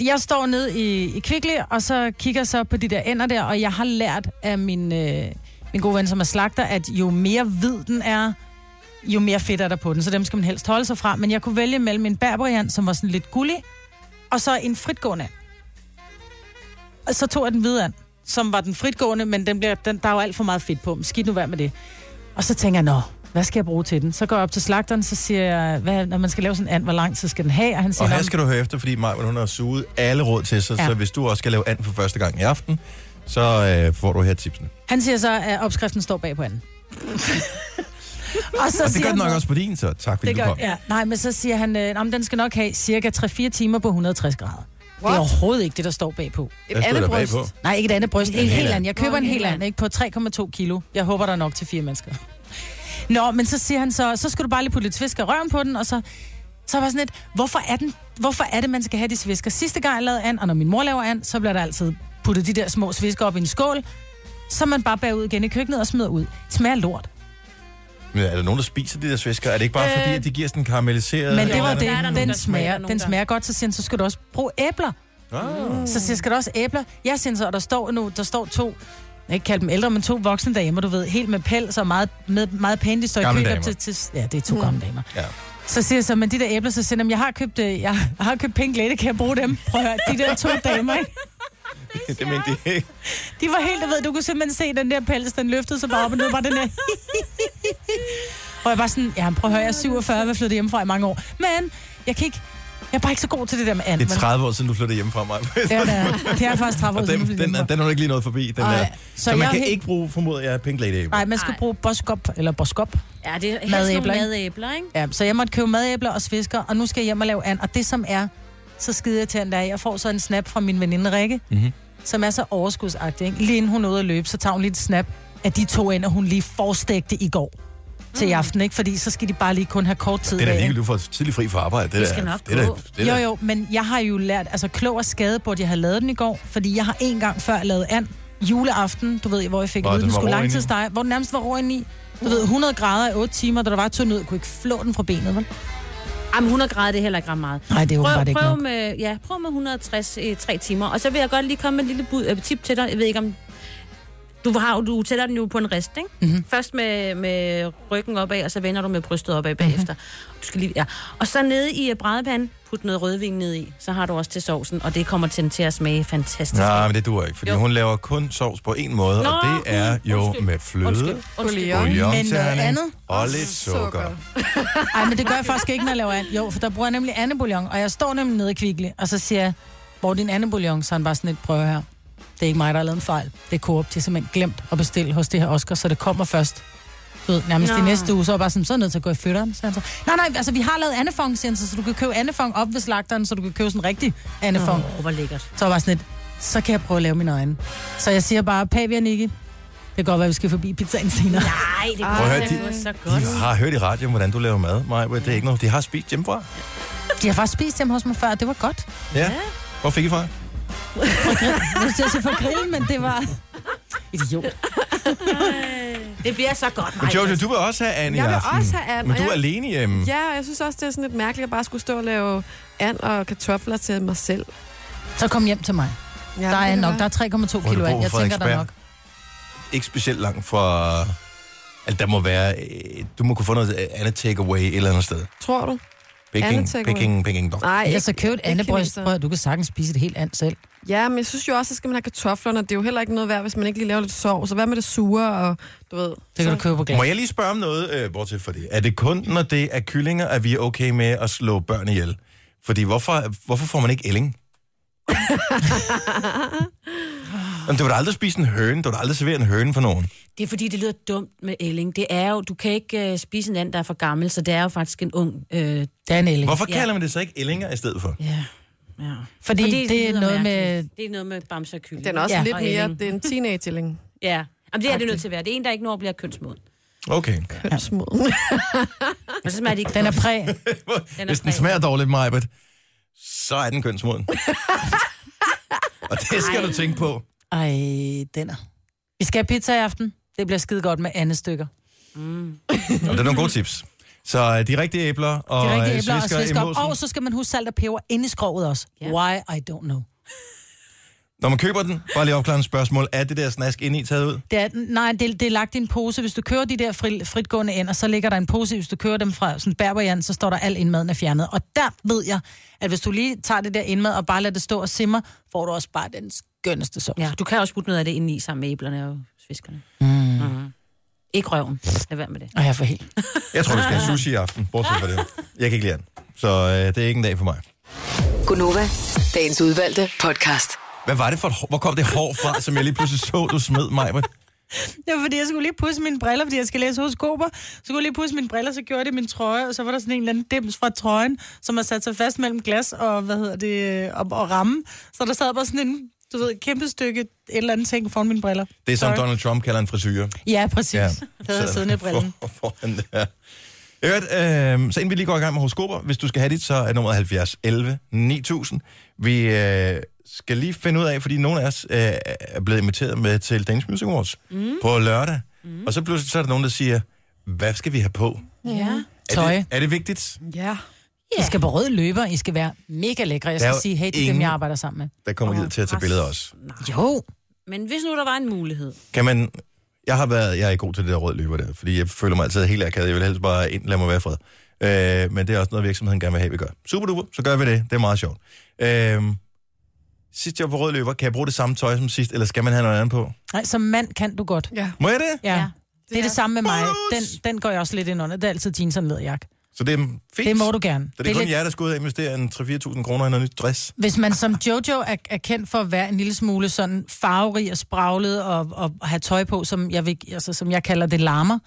Speaker 4: jeg står ned i, i Kvickly, og så kigger så på de der ender der, og jeg har lært af min, øh, min gode ven, som er slagter, at jo mere hvid den er, jo mere fedt er der på den, så dem skal man helst holde sig fra. Men jeg kunne vælge mellem en berberian, som var sådan lidt gullig, og så en fritgående and. Og så tog jeg den hvide and, som var den fritgående, men den bliver, den, der er jo alt for meget fedt på dem. Skidt nu værd med det. Og så tænker jeg, nå, hvad skal jeg bruge til den? Så går jeg op til slagteren, så siger jeg, hvad, når man skal lave sådan en and, hvor lang tid skal den have? Og han siger,
Speaker 1: Og
Speaker 4: "Nå,
Speaker 1: her skal du høre efter, fordi Maja, hun har suget alle råd til sig, ja.
Speaker 4: Ja.
Speaker 1: så hvis du også skal lave and for første gang i aften, så øh, får du her tipsene.
Speaker 4: Han siger så, at opskriften står bag på anden. og så
Speaker 1: Og det
Speaker 4: siger
Speaker 1: gør den
Speaker 4: han
Speaker 1: nok
Speaker 4: så-
Speaker 1: også på din, så tak fordi
Speaker 4: Det
Speaker 1: du
Speaker 4: gør,
Speaker 1: kom.
Speaker 4: ja. Nej, men så siger han, øh, om den skal nok have cirka 3-4 timer på 160 grader. Det er
Speaker 3: What?
Speaker 4: overhovedet ikke det, der står bagpå.
Speaker 1: Der
Speaker 3: Et
Speaker 1: stod
Speaker 3: andet
Speaker 1: der
Speaker 3: bryst.
Speaker 1: bagpå.
Speaker 4: Nej, ikke et andet bryst. En
Speaker 1: hel
Speaker 4: hel
Speaker 1: and.
Speaker 4: anden. Jeg køber
Speaker 2: Nå,
Speaker 4: en
Speaker 2: en
Speaker 4: hel
Speaker 2: hel
Speaker 4: anden, ikke? På 3,2 kilo. Jeg håber, der er nok til fire mennesker. Nå, men så siger han så, så skal du bare lige putte lidt svisker i røven på den, og så... Så var jeg sådan lidt, hvorfor er, den, hvorfor er det, man skal have de svisker? Sidste gang jeg lavede and, og når min mor laver and, så bliver der altid puttet de der små svisker op i en skål, som man bare bærer ud igen i køkkenet og smider ud. Det smager af lort.
Speaker 1: Men er der nogen, der spiser de der svisker? Er det ikke bare fordi, at de giver sådan en karamelliseret...
Speaker 4: Øh, Men det
Speaker 1: eller
Speaker 4: var
Speaker 1: andet?
Speaker 2: der er
Speaker 4: det,
Speaker 2: nogen,
Speaker 4: den
Speaker 2: der smager,
Speaker 4: smager,
Speaker 2: nogen,
Speaker 4: den
Speaker 2: der-
Speaker 4: smager godt, så siger han, så skal du også bruge æbler.
Speaker 1: Ah.
Speaker 4: Så siger jeg, skal der også æbler? Jeg siger så, og der står nu, der står to, jeg ikke kalde dem ældre, men to voksne damer, du ved, helt med pels og meget, med, meget pæne, de står i
Speaker 1: Gamle
Speaker 4: kø
Speaker 1: damer.
Speaker 4: op til, til, ja, det er
Speaker 7: Mm.
Speaker 4: to gamle damer.
Speaker 1: Ja.
Speaker 4: Så siger jeg så, men de der æbler, så siger jeg, jeg har købt, øh, jeg har købt pink lette, kan jeg bruge dem? Prøv at høre, de der to damer, ikke?
Speaker 1: Det mente de ikke.
Speaker 4: De var helt, du ved, du kunne simpelthen se den der pels, den løftede sig bare op, og nu var den der... og jeg var sådan, ja, prøv at høre, jeg er 47, jeg flyttet hjemmefra i mange år. Men jeg kan ikke, jeg er bare ikke så god til det der med andet.
Speaker 1: Det er 30 år siden, du flyttede hjemmefra mig.
Speaker 4: Ja, det er, det er faktisk 30 år
Speaker 1: Og den,
Speaker 4: siden. jeg flyttede
Speaker 1: den, er-
Speaker 4: hjemmefra.
Speaker 1: den er du ikke lige noget forbi, den
Speaker 4: Ej,
Speaker 1: der.
Speaker 4: så
Speaker 1: Så, man
Speaker 4: jeg er
Speaker 1: kan
Speaker 4: helt-
Speaker 1: ikke bruge, formoder jeg, Pink Lady.
Speaker 4: Nej, man skal
Speaker 2: Ej.
Speaker 4: bruge boskop, eller boskop.
Speaker 2: Ja, det er helst
Speaker 4: Madæbler,
Speaker 2: nogle
Speaker 4: ikke?
Speaker 2: madæbler, ikke?
Speaker 4: Ja, så jeg måtte købe madæbler og svisker, og nu skal jeg hjem og lave and. Og det som er så skide jeg til, der er, jeg får så en snap fra min veninde Rikke,
Speaker 1: Mhm.
Speaker 4: mm-hmm. som er så overskudsagtig. Ikke? Lige inden hun er ude at løbe, så tager hun lige et snap af de to ender, hun lige forstægte i går
Speaker 2: Mm.
Speaker 4: til i aften, ikke? Fordi så skal de bare lige kun have kort tid
Speaker 1: Det er da
Speaker 4: af, ikke?
Speaker 1: ligegyldigt, du får tidlig fri fra arbejde. Det,
Speaker 2: Vi
Speaker 1: der-
Speaker 2: skal nok
Speaker 1: det, der-
Speaker 2: gå.
Speaker 1: det,
Speaker 4: Jo,
Speaker 1: der-
Speaker 4: jo, men jeg har jo lært, altså klog og skade burde jeg have lavet den i går, fordi jeg har en gang før lavet and, juleaften, du ved, hvor jeg fik
Speaker 1: Hvor
Speaker 4: at vide,
Speaker 1: den
Speaker 4: den
Speaker 1: var
Speaker 4: skulle
Speaker 1: rå
Speaker 4: lang
Speaker 1: indeni.
Speaker 4: tid stege, hvor den nærmest var rå i. Du ved, 100 grader i 8 timer, da der var tynd ud, kunne ikke flå den fra benet, vel?
Speaker 2: Jamen, 100 grader, det er heller ikke ret meget.
Speaker 4: Nej, det er
Speaker 2: Prøv,
Speaker 4: åbenbart ikke
Speaker 2: prøv,
Speaker 4: nok.
Speaker 2: med, ja, prøv med 160 i 3 eh, timer. Og så vil jeg godt lige komme med et lille bud, øh, tip til dig. Jeg ved ikke om... Du, har, jo- du tæller den jo på en rist, ikke?
Speaker 4: Mhm.
Speaker 2: Mm-hmm. Først med, med ryggen opad, og så vender du med brystet opad bagefter.
Speaker 4: Mhm.
Speaker 2: Mm-hmm. Du skal lige, ja. Og så nede i øh, bradepanden, put noget rødvin ned i. Så har du også til sovsen, og det kommer til, den til at smage fantastisk.
Speaker 1: Nej, men det duer ikke, fordi
Speaker 2: Jo.
Speaker 1: hun laver kun sovs på en måde, og det er
Speaker 2: undskyld,
Speaker 1: jo
Speaker 2: undskyld,
Speaker 1: med fløde,
Speaker 2: Undskyld, undskyld.
Speaker 3: Bouillon.
Speaker 4: Men noget
Speaker 1: jomterning
Speaker 4: andet?
Speaker 1: og lidt sukker.
Speaker 4: Nej, men det gør jeg faktisk ikke, når jeg laver and. Jo, for der bruger jeg nemlig andebouillon, og jeg står nemlig nede i Kvickly, og så siger jeg, hvor er din andebouillon? Så er han bare sådan et prøve her. Det er ikke mig, der har lavet en fejl. Det er Coop, de har simpelthen glemt at bestille hos det her Oscar, så det kommer først. Du ved, nærmest i
Speaker 2: Nå.
Speaker 4: næste uge, så er jeg bare sådan, så er jeg nødt til at gå i fødderen. Så han så, nej, nej, altså vi har lavet andefong, siger han, så, så du kan købe andefong op ved slagteren, så du kan købe sådan en rigtig andefong.
Speaker 2: Åh, hvor lækkert.
Speaker 4: Så var jeg bare sådan lidt, så kan jeg prøve at lave min egen. Så jeg siger bare, Pavia Nicky, det kan godt være, vi skal forbi pizzaen senere.
Speaker 2: Nej, det
Speaker 1: Prøv at høre,
Speaker 2: kunne
Speaker 1: de-
Speaker 2: det var så godt.
Speaker 1: De har hørt i radioen, hvordan du laver mad, Maja. Det er ikke noget, de har spist hjemmefra.
Speaker 4: De har faktisk spist hjemme hos mig før, og det var godt.
Speaker 1: Ja. Hvor fik I fra?
Speaker 4: Jeg synes, jeg for grillen, men det var... Idiot.
Speaker 2: Det bliver så godt,
Speaker 1: Men
Speaker 2: Maja.
Speaker 1: Jojo, du vil også have Anne i
Speaker 3: Jeg vil
Speaker 1: aften.
Speaker 3: også have and,
Speaker 1: Men
Speaker 3: og
Speaker 1: du er
Speaker 3: jeg-
Speaker 1: alene
Speaker 4: Mm.
Speaker 1: hjemme.
Speaker 3: Ja, og jeg synes også, det er sådan lidt mærkeligt at bare skulle stå og lave and og kartofler til mig selv.
Speaker 4: Så kom hjem til mig.
Speaker 3: Ja,
Speaker 4: Der er nok. Der er 3,2
Speaker 1: Hvor du
Speaker 4: kilo
Speaker 1: bor
Speaker 4: af. Jeg
Speaker 1: på
Speaker 4: tænker, der er nok.
Speaker 1: Ikke specielt langt fra... Altså, der må være... øh, Du må kunne få noget øh, andet takeaway et eller andet sted.
Speaker 3: Tror du?
Speaker 1: Peking,
Speaker 3: Andet takeaway?
Speaker 1: Peking, Peking. Nå.
Speaker 3: Nej,
Speaker 4: Ja, så køb et
Speaker 3: ikke
Speaker 4: andet bryst.
Speaker 3: kineser.
Speaker 4: Prøv, at- du kan sagtens spise det helt andet selv.
Speaker 3: Ja, men jeg synes jo også, at skal man have kartoflerne. Det er jo heller ikke noget værd, hvis man ikke lige laver lidt sovs. Så hvad med det sure og du ved...
Speaker 4: Det kan du købe på
Speaker 1: Må
Speaker 4: glas.
Speaker 1: jeg lige spørge om noget, øh, bortset for det? Er det kun, når det er kyllinger, at vi er okay med at slå børn ihjel? Fordi hvorfor, hvorfor får man ikke ælling? Men du vil da aldrig spise en høne. Du vil da aldrig servere en høne for nogen.
Speaker 2: Det er fordi, det lyder dumt med ælling. Det er jo, du kan ikke øh, spise en and, der er for gammel, så det er jo faktisk en ung... Øh, ja,
Speaker 4: Det er en ælling.
Speaker 1: Hvorfor
Speaker 2: Ja.
Speaker 1: kalder man det så ikke ællinger i stedet for?
Speaker 2: ja.
Speaker 4: Fordi det
Speaker 2: lyder
Speaker 4: er noget med...
Speaker 2: mærkeligt. Det er noget med bamser og kylling.
Speaker 3: Den er også
Speaker 4: Ja,
Speaker 3: ja, lidt
Speaker 2: og
Speaker 3: mere...
Speaker 2: ælling.
Speaker 3: Det er en teenage-ælling.
Speaker 2: Ja, Jamen, det er det nødt til at være. Det er en, der ikke når at blive kønsmoden.
Speaker 1: Okay.
Speaker 3: Kønsmoden.
Speaker 2: Og så smager det ikke
Speaker 4: Den er
Speaker 2: godt.
Speaker 4: præ.
Speaker 1: Hvis den
Speaker 2: fræk.
Speaker 1: smager dårligt, Majbet, så er den kønsmoden. Og det skal du tænke på.
Speaker 4: Ej, den er. Vi skal have pizza i aften. Det bliver skide godt med andet stykker.
Speaker 1: Og det er nogle gode tips. Så øh, de rigtige æbler og
Speaker 4: De rigtige
Speaker 1: øh,
Speaker 4: æbler og
Speaker 1: svisker i
Speaker 4: svisker. op.
Speaker 1: mosen.
Speaker 4: Og så skal man huske salt og peber inde i skrovet også.
Speaker 2: Ja.
Speaker 4: Why? I don't know.
Speaker 1: Når man køber den, bare lige opklare et spørgsmål. Er det der snask indeni taget ud?
Speaker 4: Det er, nej, det, det er lagt i en pose. Hvis du kører de der fri, fritgående ind, og så ligger der en pose, hvis du kører dem fra sådan berberjan, så står der al indmaden er fjernet. Og der ved jeg, at hvis du lige tager det der indmad og bare lader det stå og simmer, får du også bare den skønneste sovs.
Speaker 2: Ja, du kan også putte noget af det ind i sammen med æblerne og fiskerne. Mm. Mm. Ikke røven. Lad være med det.
Speaker 4: Og jeg får helt.
Speaker 1: Jeg tror, vi skal have sushi i aften, bortset fra det. Jeg kan ikke lide den. Så øh, det er ikke en dag for mig.
Speaker 6: Gunova, dagens udvalgte podcast.
Speaker 1: Hvad var det for et hår? Hvor kom det hår fra, som jeg lige pludselig så, du smed mig? med?
Speaker 4: Det var, fordi jeg skulle lige pudse mine briller, fordi jeg skal læse horoskoper. Så skulle jeg lige pudse mine briller, så gjorde jeg det i min trøje, og så var der sådan en eller anden dims fra trøjen, som har sat sig fast mellem glas og, hvad hedder det, og, og ramme. Så der sad bare sådan en, du ved, et kæmpe stykke et eller andet ting foran mine briller.
Speaker 1: Det er som
Speaker 4: Sorry.
Speaker 1: Donald Trump kalder en frisyre.
Speaker 4: Ja, præcis. Ja. Det havde jeg
Speaker 1: Så-
Speaker 4: siddende i brillen.
Speaker 1: For, foran det her. Jeg hørte, øh, så inden vi lige går i gang med horoskoper, hvis du skal have dit, så er nummeret 70 11 9000. Vi øh, skal lige finde ud af, fordi nogle af os øh, er blevet inviteret med til Danish Music Awards mm. på lørdag. Mm. Og så pludselig så er der nogen, der siger, hvad skal vi have på?
Speaker 2: Ja.
Speaker 1: Er
Speaker 4: Tøj.
Speaker 1: det, er det vigtigt?
Speaker 3: Ja.
Speaker 4: I skal på røde løber, I skal være mega lækre. Jeg
Speaker 1: Der er
Speaker 4: skal
Speaker 1: jo
Speaker 4: sige, hey, det er
Speaker 1: ingen-
Speaker 4: dem, jeg arbejder sammen med.
Speaker 1: Der kommer givet til at tage billeder også.
Speaker 4: Jo,
Speaker 2: Men hvis nu der var en mulighed.
Speaker 1: Kan man... Jeg har været... Jeg er ikke god til det der rød løber der, fordi jeg føler mig altid helt akavet. Jeg vil helst bare ind, lad mig være i fred. Øh, men det er også noget, virksomheden gerne vil have, vi gør. Super duper, så gør vi det. Det er meget sjovt. Øh, sidst jeg var på rød løber, kan jeg bruge det samme tøj som sidst, eller skal man have noget andet på?
Speaker 4: Nej, som mand kan du godt.
Speaker 3: ja.
Speaker 1: Må jeg det?
Speaker 4: Ja.
Speaker 2: Ja.
Speaker 4: ja. Det er det samme med mig. Den,
Speaker 1: Bonus!
Speaker 4: den går jeg også lidt ind under. Det er altid jeans og en læderjakke.
Speaker 1: Så det er fint.
Speaker 4: Det må du gerne.
Speaker 1: Så det er kun jer, der skal ud og investere en 3-4.000 kroner i noget nyt dress.
Speaker 4: Hvis man som Jojo er, er kendt for at være en lille smule sådan farverig og spraglet og, og, og have tøj på, som jeg, vil, altså, som jeg kalder det larmer,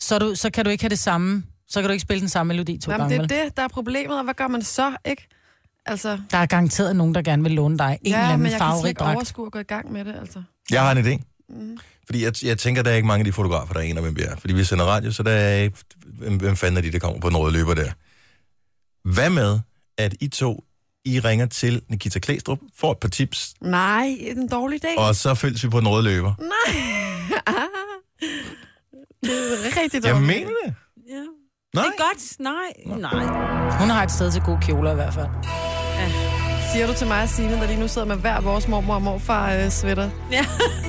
Speaker 4: så, er du, så kan du ikke have det samme. Så kan du ikke spille den samme melodi to
Speaker 3: Jamen,
Speaker 4: gange.
Speaker 3: det er
Speaker 4: vel?
Speaker 3: det, der er problemet, og hvad gør man så, ikke? Altså,
Speaker 4: Der er garanteret nogen, der gerne vil låne dig en ja, eller
Speaker 3: ja, men
Speaker 4: anden
Speaker 3: jeg kan slet
Speaker 4: farverig
Speaker 3: ikke
Speaker 4: dragt.
Speaker 3: overskue at gå i gang med det, altså.
Speaker 1: Jeg har en idé. Fordi jeg, jeg tænker, der er ikke mange af de fotografer, der aner, hvem vi er. Fordi vi sender radio, så der er ikke... Hvem, hvem fanden er de, der kommer på den røde løber der? Hvad med, at I to, I ringer til Nikita Klæstrup, får et par tips,
Speaker 3: Nej, det er en dårlig dag.
Speaker 1: og så følges vi på den røde løber.
Speaker 3: Rigtig
Speaker 1: Jeg
Speaker 3: dårlig dag.
Speaker 1: mener det.
Speaker 2: Ja.
Speaker 1: Nej.
Speaker 2: Det er godt. Nej. Nej.
Speaker 4: Hun har et sted til gode kjoler i hvert fald.
Speaker 3: Siger du til mig og Signe, der lige nu sidder med hver vores mormor og morfar øh, sweater?
Speaker 2: Ja.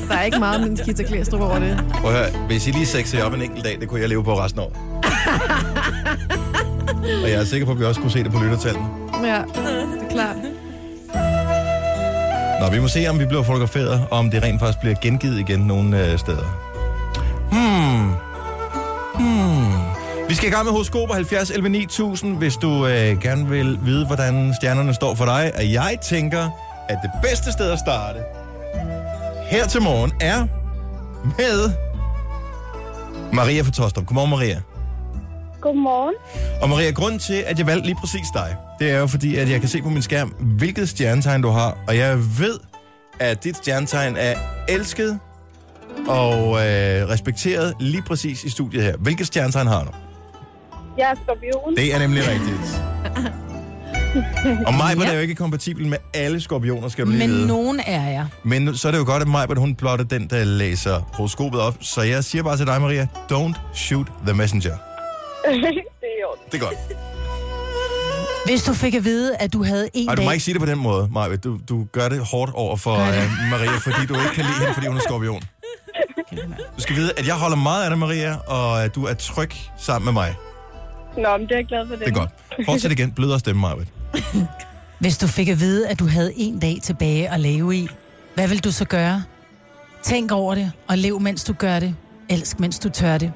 Speaker 3: Der er ikke meget min Kita Klæstrup over det.
Speaker 1: Prøv at høre, hvis I lige sexer jer op en enkelt dag, det kunne jeg leve på resten af året. og jeg er sikker på, at vi også kunne se det på lyttertallene.
Speaker 3: Ja, det er klart.
Speaker 1: Nå, vi må se, om vi bliver fotograferet, og om det rent faktisk bliver gengivet igen nogle øh, steder. Hmm. Hmm. Vi skal i gang med horoskoper 70 11 9000, hvis du øh, gerne vil vide, hvordan stjernerne står for dig. Og jeg tænker, at det bedste sted at starte her til morgen er med Maria fra Tostrup. Godmorgen, Maria.
Speaker 7: Godmorgen.
Speaker 1: Og Maria, grunden til, at jeg valgte lige præcis dig, det er jo fordi, at jeg kan se på min skærm, hvilket stjernetegn du har. Og jeg ved, at dit stjernetegn er elsket og øh, respekteret lige præcis i studiet her. Hvilket stjernetegn har du?
Speaker 7: Jeg er skorpion.
Speaker 1: Det er nemlig rigtigt. Og Majbert er jo ikke kompatibel med alle skorpioner, skal du lige
Speaker 4: Men
Speaker 1: vide.
Speaker 4: nogen er jeg.
Speaker 1: Men så er det jo godt, at Majbert, hun blotter den, der læser horoskopet op. Så jeg siger bare til dig, Maria, don't shoot the messenger.
Speaker 7: det er i orden.
Speaker 1: Det er godt.
Speaker 4: Hvis du fik at vide, at du havde en
Speaker 1: Ej, du må
Speaker 4: dag...
Speaker 1: ikke sige det på den måde, Maja. Du, du gør det hårdt over for uh, Maria, fordi du ikke kan lide hende, fordi hun er skorpion. Du skal vide, at jeg holder meget af dig, Maria, og at du er tryg sammen med mig.
Speaker 7: Nå, men det er jeg glad for det.
Speaker 1: Det er godt. Fortsæt igen. Blød og stemme, Maja.
Speaker 4: Hvis du fik at vide, at du havde en dag tilbage at leve i, hvad vil du så gøre? Tænk over det, og lev mens du gør det. Elsk mens du tør det.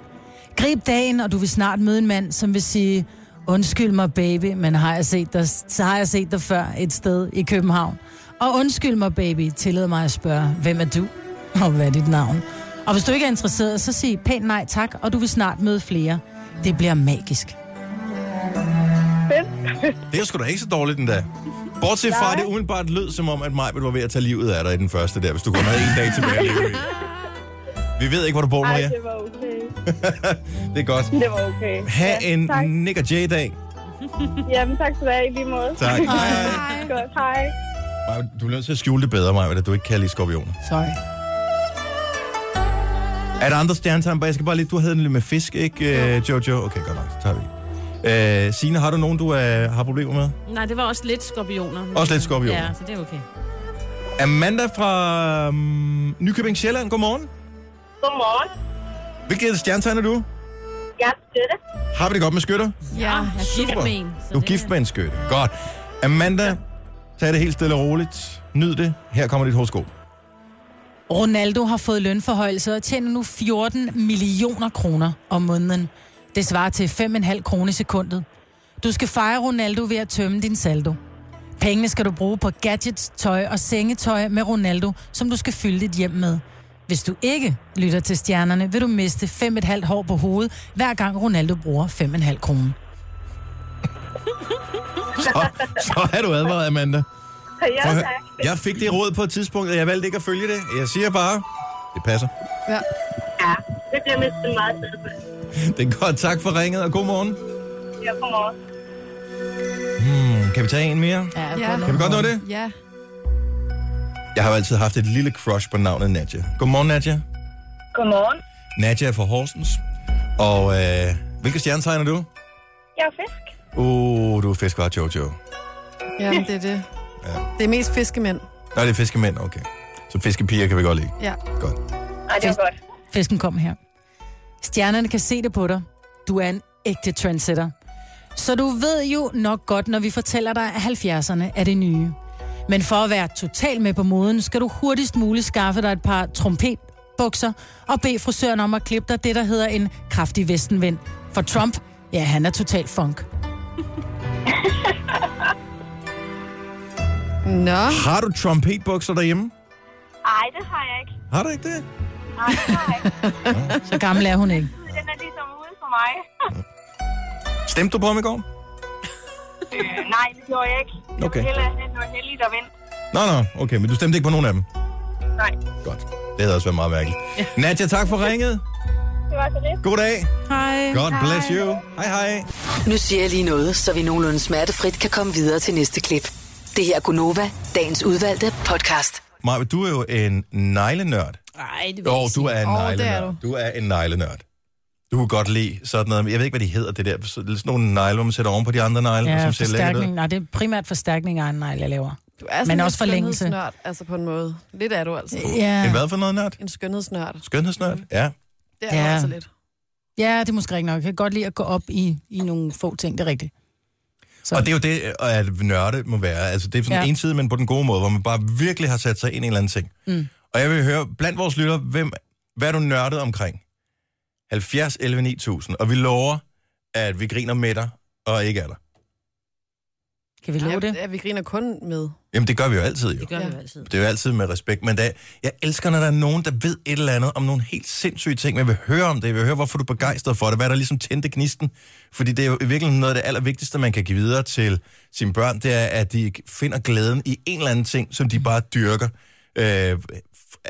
Speaker 4: Grib dagen, og du vil snart møde en mand, som vil sige, undskyld mig baby, men har jeg set dig, så har jeg set dig før et sted i København. Og undskyld mig baby, tillad mig at spørge, hvem er du, og hvad er dit navn? Og hvis du ikke er interesseret, så sig pænt nej tak, og du vil snart møde flere. Det bliver magisk.
Speaker 7: Fedt.
Speaker 1: Det er sgu da ikke så dårligt endda. Bortset fra, at det umiddelbart lød som om, at Maja var ved at tage livet af dig i den første der, hvis du kun havde en dag tilbage. at leve i. Vi ved ikke, hvor du bor,
Speaker 7: Ej,
Speaker 1: Maria.
Speaker 7: det var okay.
Speaker 1: Det er godt.
Speaker 7: Det var okay.
Speaker 1: Ha'
Speaker 7: Ja,
Speaker 1: en
Speaker 7: Tak.
Speaker 1: Nick og Jay-dag.
Speaker 7: Jamen, tak skal du have i lige måde.
Speaker 1: Tak. Hej.
Speaker 7: Godt, hej.
Speaker 1: Maja, du er nødt til at skjule det bedre, Maja, at du ikke kan lide skorpioner.
Speaker 4: Sorry.
Speaker 1: Er der andre stjernetegn? Bare- Jeg skal bare lige... Du havde den lidt med fisk, ikke, øh, Jojo? Okay, godt nok. Så tager vi. Øh, Signe, har du nogen, du øh, har problemer med?
Speaker 2: Nej, det var også lidt skorpioner.
Speaker 1: Også lidt skorpioner.
Speaker 2: Ja, så det er okay.
Speaker 1: Amanda fra um, Nykøbing Sjælland, godmorgen.
Speaker 7: Godmorgen.
Speaker 1: Hvilket stjernetegn er du?
Speaker 7: Jeg er Støtte.
Speaker 1: Har vi det godt med skytter?
Speaker 3: Ja.
Speaker 2: jeg er gift med en. så
Speaker 1: Du er
Speaker 2: det-
Speaker 1: gift med en skytte. Godt. Amanda, tag det helt stille og roligt. Nyd det. Her kommer dit horoskop.
Speaker 4: Ronaldo har fået lønforhøjelse og tjener nu 14 millioner kroner om måneden. Det svarer til 5,5 kroner i sekundet. Du skal fejre Ronaldo ved at tømme din saldo. Pengene skal du bruge på gadgets, tøj og sengetøj med Ronaldo, som du skal fylde dit hjem med. Hvis du ikke lytter til stjernerne, vil du miste 5,5 hår på hovedet, hver gang Ronaldo bruger 5,5 kroner.
Speaker 1: Så, så er du advaret, Amanda.
Speaker 7: Ja,
Speaker 1: Prøv at
Speaker 7: tak.
Speaker 1: høre. Jeg fik det råd på et tidspunkt, og jeg valgte ikke at følge det. Jeg siger bare, det passer.
Speaker 3: ja.
Speaker 7: Ja, det bliver mest meget tid.
Speaker 1: Det er godt. Tak for ringet, og god morgen.
Speaker 7: Ja, godmorgen.
Speaker 1: Hmm, Kan vi tage en mere?
Speaker 3: Ja.
Speaker 4: gå nu.
Speaker 1: Kan vi godt nå det?
Speaker 3: Ja.
Speaker 1: Jeg har jo altid haft et lille crush på navnet Nadja. Godmorgen, Nadja.
Speaker 7: Godmorgen.
Speaker 1: Nadja er fra Horsens. Og øh, hvilke stjernetegn er du?
Speaker 7: Jeg er fisk.
Speaker 1: Uh, du er fiskvar, Jojo.
Speaker 3: ja, det er det.
Speaker 1: Ja.
Speaker 3: Det er mest fiskemænd.
Speaker 1: Nej, det er fiskemænd, okay. Så fiskepiger kan vi godt lide.
Speaker 3: Ja.
Speaker 1: Godt.
Speaker 7: Ej, det var godt.
Speaker 4: Fisken kom her. Stjernerne kan se det på dig. Du er en ægte trendsetter. Så du ved jo nok godt, når vi fortæller dig, at 70'erne er det nye. Men for at være totalt med på moden, skal du hurtigst muligt skaffe dig et par trompetbukser og bede frisøren om at klippe dig det, der hedder en kraftig vestenvind. For Trump, ja, han er totalt funk.
Speaker 3: Nå.
Speaker 1: Har du trompetbukser derhjemme?
Speaker 7: Ej, det har jeg ikke.
Speaker 1: Har du ikke det?
Speaker 7: Nej, det har jeg ikke.
Speaker 4: Så gammel er hun ikke.
Speaker 7: Den er ligesom ude for mig.
Speaker 1: Stemte du på ham i går?
Speaker 7: Øh, nej, det gjorde jeg ikke. Jeg
Speaker 1: Okay.
Speaker 7: ville hellere have noget heldigt at vente.
Speaker 1: Nå, nå, okay, men du stemte ikke på nogen af dem.
Speaker 7: Nej,
Speaker 1: Godt. Det havde også været meget mærkeligt. Nadja, tak for ringet.
Speaker 7: det var så det.
Speaker 1: God dag.
Speaker 4: Hej.
Speaker 1: God bless you. Hej, hej.
Speaker 6: Nu siger jeg lige noget, så vi nogenlunde smertefrit kan komme videre til næste klip. Det her er Gunova, dagens udvalgte podcast.
Speaker 1: Maja, du er jo en neglenørd.
Speaker 2: Nej, det vil jeg
Speaker 1: Jo,
Speaker 2: ikke
Speaker 1: du er en
Speaker 3: Åh, det er
Speaker 1: neglenørd.
Speaker 3: du.
Speaker 1: du. er en neglenørd. Du kan godt lide sådan noget. Jeg ved ikke, hvad de hedder, det der. Sådan nogle negle, hvor man sætter oven på de andre negle,
Speaker 4: Ja,
Speaker 1: som ser lækkert ud.
Speaker 4: forstærkning. Nej, det er primært forstærkning af en negl, jeg laver.
Speaker 3: Du er sådan
Speaker 4: Men
Speaker 3: en
Speaker 4: også forlængelse.
Speaker 3: skønhedsnørd, altså på en måde. Lidt er du altså.
Speaker 1: En
Speaker 4: Ja.
Speaker 1: hvad for noget nørd?
Speaker 3: En skønhedsnørd.
Speaker 1: Skønhedsnørd? Ja.
Speaker 3: Det er ja. du
Speaker 4: Ja.
Speaker 3: altså lidt.
Speaker 4: Ja, det er måske rigtigt nok. Jeg kan godt lide at gå op i, i nogle få ting, det er rigtigt. Så.
Speaker 1: Og det er jo det, øh, at nørde må være. Altså, det er sådan ja.
Speaker 4: Ja.
Speaker 1: en side, men på den gode måde, hvor man bare virkelig har sat sig ind i en eller anden ting. Mm. Og jeg vil høre, blandt vores lytter, hvem, hvad er du nørdet omkring? 70 11 9000. Og vi lover, at vi griner med dig, og ikke af dig.
Speaker 4: Kan vi love det?
Speaker 3: Ja, vi griner kun med.
Speaker 1: Jamen, det gør vi jo altid, jo.
Speaker 2: Det gør vi
Speaker 3: Ja.
Speaker 2: jo altid.
Speaker 1: Det er jo altid med respekt, men da, jeg elsker, når der er nogen, der ved et eller andet om nogle helt sindssyge ting, men vil høre om det, jeg vil høre, hvorfor du er begejstret for det, hvad der ligesom tændte gnisten. Fordi det er jo virkelig noget af det allervigtigste, man kan give videre til sine børn, det er, at de finder glæden i en eller anden ting, som de bare dyrker øh, af,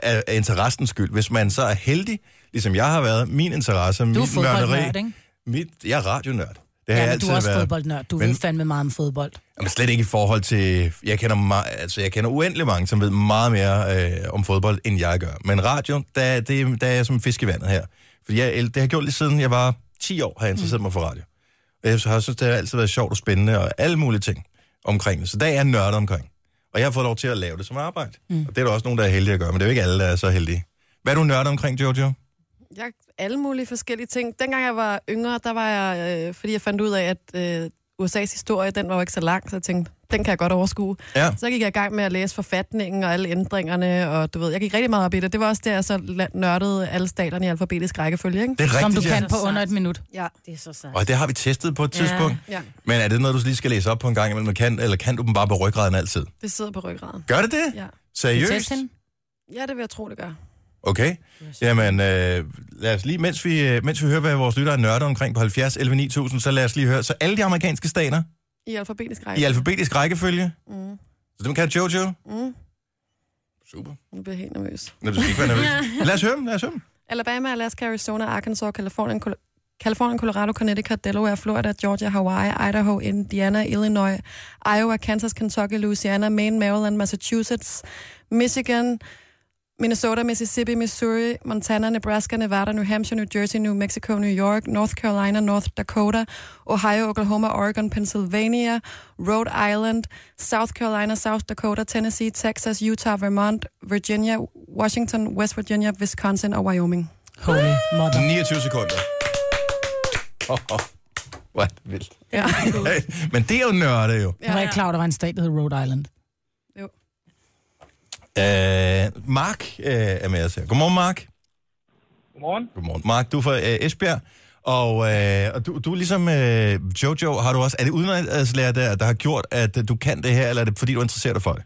Speaker 1: af interessens skyld. Hvis man så er heldig, ligesom jeg har været, min interesse,
Speaker 4: Du er
Speaker 1: mit
Speaker 4: fodboldnørd, ikke?
Speaker 1: mit, jeg er radionørd. Det har jeg
Speaker 4: Ja, men
Speaker 1: altid
Speaker 4: du er også
Speaker 1: været.
Speaker 4: fodboldnørd. Du
Speaker 1: Men-
Speaker 4: men... ved fandme meget om fodbold.
Speaker 1: Jamen slet ikke i forhold til... Jeg kender, meget, altså, jeg kender uendelig mange, som ved meget mere øh, om fodbold, end jeg gør. Men radio, der, det, der er jeg som fisk i vandet her. Fordi jeg, el- det har jeg gjort lige siden jeg var 10 år, har jeg interesseret mm. mig for radio. Og jeg har synes, det har altid været sjovt og spændende og alle mulige ting omkring det. Så der er jeg nørdet omkring. Og jeg har fået lov til at lave det som arbejde. Mm. Og det er der også nogen, der er heldige at gøre, men det er jo ikke alle, der er så heldige. Hvad er du nørdet omkring, Jojo?
Speaker 3: Jeg alle mulige forskellige ting. Dengang jeg var yngre, der var jeg, øh, fordi jeg fandt ud af, at øh, USA's historie, den var jo ikke så lang, så jeg tænkte, den kan jeg godt overskue.
Speaker 1: Ja.
Speaker 3: Så gik jeg i gang med at læse forfatningen og alle ændringerne, og du ved, jeg gik rigtig meget op i det. Det var også der, jeg så la- nørdede alle staterne i alfabetisk rækkefølge, ikke?
Speaker 1: Det er rigtigt,
Speaker 4: Som du kan
Speaker 1: ja.
Speaker 4: på under et minut.
Speaker 3: Ja.
Speaker 2: Det er så sejt.
Speaker 1: Og det har vi testet på et
Speaker 2: Ja.
Speaker 1: tidspunkt.
Speaker 3: Ja,
Speaker 1: Men er det noget, du lige skal læse op på en gang imellem? Kan, eller kan du dem bare på ryggraden altid?
Speaker 3: det sidder på ryggraden.
Speaker 1: Gør det det?
Speaker 3: Ja.
Speaker 4: Kan du
Speaker 1: Seriøst?
Speaker 4: teste hende?
Speaker 3: ja, det vil jeg tro, det gør.
Speaker 1: Okay. Jamen, øh, lad os lige, mens vi, øh, mens vi hører, hvad vores lyttere er nørder omkring på 70 11 9000, så lad os lige høre. Så alle de amerikanske stater
Speaker 3: I alfabetisk
Speaker 1: i
Speaker 3: rækkefølge.
Speaker 1: alfabetisk rækkefølge. Mm. Så dem kan Jojo.
Speaker 3: Mm.
Speaker 1: Super.
Speaker 3: Nu bliver jeg helt nervøs.
Speaker 1: Nå, du skal ikke være nervøs. Lad os høre dem, lad os høre dem.
Speaker 3: Alabama, Alaska, Arizona, Arkansas, Kalifornien, Col- Californien, Colorado, Connecticut, Delaware, Florida, Georgia, Hawaii, Idaho, Indiana, Illinois, Iowa, Kansas, Kentucky, Louisiana, Maine, Maryland, Massachusetts, Michigan, Minnesota, Mississippi, Missouri, Montana, Nebraska, Nevada, New Hampshire, New Jersey, New Mexico, New York, North Carolina, North Dakota, Ohio, Oklahoma, Oregon, Pennsylvania, Rhode Island, South Carolina, South Dakota, Tennessee, Texas, Utah, Vermont, Virginia, Washington, West Virginia, Wisconsin og Wyoming.
Speaker 4: Holy mother.
Speaker 1: 29 sekunder. Oh, oh. Hvor er det vildt.
Speaker 3: Ja.
Speaker 1: Hey, men det er jo nørde jo.
Speaker 4: Jeg var ikke klar, over, der var en stat, der hed Rhode Island.
Speaker 3: jo.
Speaker 1: Uh, Mark uh, er med os her. Godmorgen, Mark.
Speaker 7: Godmorgen.
Speaker 1: Godmorgen. Mark, du er fra uh, Esbjerg. Og, uh, og du, du er ligesom uh, Jojo, har du også... Er det udenrigslærer, der, der har gjort, at øh, du kan det her, eller er det fordi, du interesserer dig for det?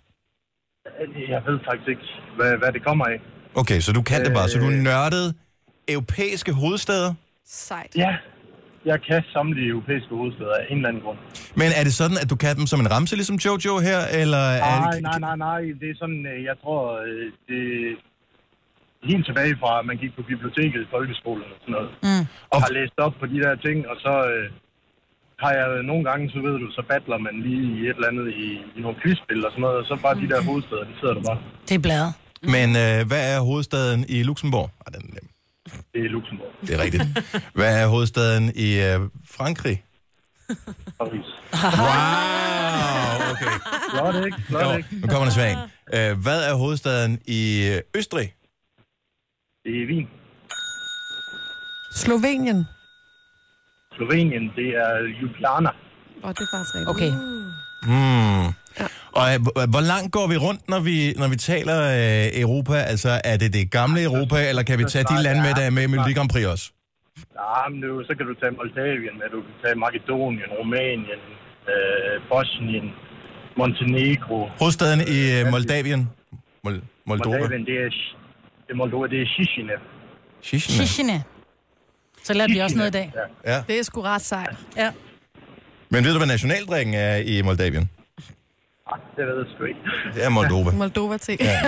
Speaker 8: Jeg ved faktisk ikke, hvad, hvad det kommer af. Øh,
Speaker 1: Okay, så du kan det bare. Så du nørdede europæiske hovedsteder?
Speaker 3: Sejt.
Speaker 8: Ja, jeg kan samtlige europæiske hovedsteder af en eller anden grund.
Speaker 1: Men er det sådan, at du kan dem som en ramse, ligesom Jojo her, eller... er
Speaker 8: Nej,
Speaker 1: det,
Speaker 8: nej, nej, nej. Det er sådan, øh, jeg tror, øh, det er helt tilbage fra, at man gik på biblioteket i folkeskolen og sådan noget. Mm. Og har læst op på de der ting, og så øh, har jeg øh, nogle gange, så ved du, så battler man lige i et eller andet i, i nogle quizspil og sådan noget, og så bare de der hovedsteder, de sidder der bare.
Speaker 4: Det er bladet.
Speaker 1: Men øh, hvad er hovedstaden i Luxembourg? Ej, den er nem.
Speaker 8: Det er Luxembourg.
Speaker 1: Det er rigtigt. Hvad er hovedstaden i øh, Frankrig?
Speaker 8: Paris.
Speaker 1: Wow, okay.
Speaker 8: Flot, ikke? Flot,
Speaker 1: Jo,
Speaker 8: ikke?
Speaker 1: nu kommer der svag. Øh, hvad er hovedstaden i øh, Østrig?
Speaker 8: Det er Wien.
Speaker 3: Slovenien.
Speaker 8: Slovenien, det er Ljubljana.
Speaker 3: Og det er faktisk rigtigt. Uh,
Speaker 4: Okay.
Speaker 1: Hmm. Og øh, hvor- hvor langt går vi rundt, når vi, når vi taler øh, Europa? Altså, er det det gamle Europa, eller kan vi tage de lande med, der er med i Melodi Grand Prix også?
Speaker 8: Ja, men nu, så kan du tage Moldavien med, du kan tage Makedonien, Rumænien, øh, Bosnien, Montenegro.
Speaker 1: Hovedstaden i øh, Moldavien? Mol- Moldova?
Speaker 8: Moldavien, det er, Sh- det er Moldova, det er Chisinau.
Speaker 1: Chisinau.
Speaker 4: Shishine. Så lærte vi også noget i dag.
Speaker 8: Ja.
Speaker 1: Ja.
Speaker 3: Det er sgu ret sejt.
Speaker 4: Ja.
Speaker 1: Men ved du, hvad nationaldrikken er i Moldavien?
Speaker 8: Ah, det ved jeg sgu ikke.
Speaker 1: Det er Moldova.
Speaker 3: Moldova til. Ja.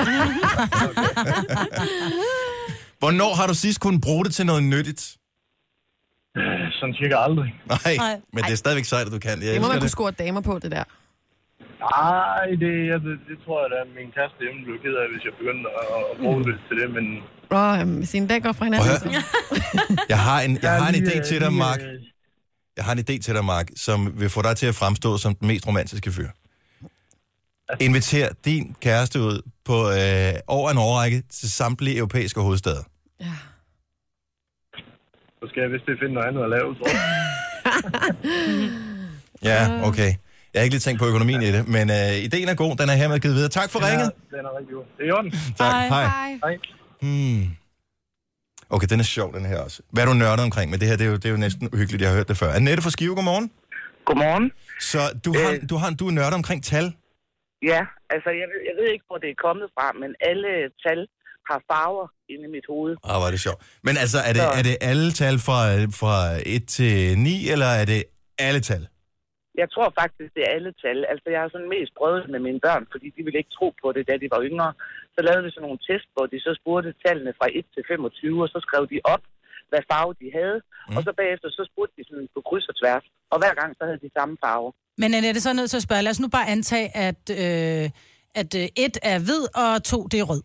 Speaker 1: Hvornår har du sidst kunnet bruge det til noget nyttigt?
Speaker 8: Øh, Sådan cirka aldrig.
Speaker 1: Nej,
Speaker 4: Nej.
Speaker 1: men det er stadigvæk sejt, at du kan. Jeg
Speaker 3: Det må man
Speaker 1: elsker
Speaker 3: kunne
Speaker 1: det.
Speaker 3: score damer på, det der.
Speaker 8: Nej, det, jeg, det, det tror jeg da, min kæreste hjemme blev ked af, hvis jeg begyndte at, at bruge det til det, men...
Speaker 3: Åh, øhm, sin dag går fra hinanden.
Speaker 1: Prøv at høre. Jeg har en, jeg har en
Speaker 8: lige,
Speaker 1: idé
Speaker 8: øh,
Speaker 1: til dig,
Speaker 8: lige,
Speaker 1: Mark.
Speaker 8: øh,
Speaker 1: Jeg har en idé til dig, Mark, som vil få dig til at fremstå som den mest romantiske fyr. Inviter din kæreste ud på øh, over en årrække til samtlige europæiske hovedsteder.
Speaker 3: Ja.
Speaker 8: Så skal jeg vist det finde noget andet at lave, tror jeg.
Speaker 1: Ja, okay. Jeg har ikke lige tænkt på økonomien i det, men øh, ideen er god. Den er hermed givet videre. Tak for ringet.
Speaker 8: Ja, den er rigtig god. Det er i orden.
Speaker 1: Tak. Hej.
Speaker 8: Hej.
Speaker 1: Hmm. Okay, den er sjov, den her også. Hvad er du nørdet omkring? Men det her, det er jo, det er jo næsten uhyggeligt, jeg har hørt det før. Annette fra Skive, godmorgen.
Speaker 9: Godmorgen. Øh.
Speaker 1: Så du, har, du, har, du er nørdet omkring tal.
Speaker 9: Ja, altså jeg ved, jeg ved ikke, hvor det er kommet fra, men alle tal har farver inde i mit hoved.
Speaker 1: Ah, hvor er det sjovt. Men altså, er det, er det alle tal fra, fra 1 til 9, eller er det alle tal?
Speaker 9: Jeg tror faktisk, det er alle tal. Altså jeg har sådan mest prøvet det med mine børn, fordi de ville ikke tro på det, da de var yngre. Så lavede vi sådan nogle test, hvor de så spurgte tallene fra 1 til 25, og så skrev de op, hvad farve de havde. Mm. Og så bagefter, så spurgte de sådan på kryds og tværs. Og hver gang, så havde de samme farve.
Speaker 4: Men Annette, så er jeg nødt til at spørge. Lad os nu bare antage, at, øh, at øh, et er hvid, og to det er rød.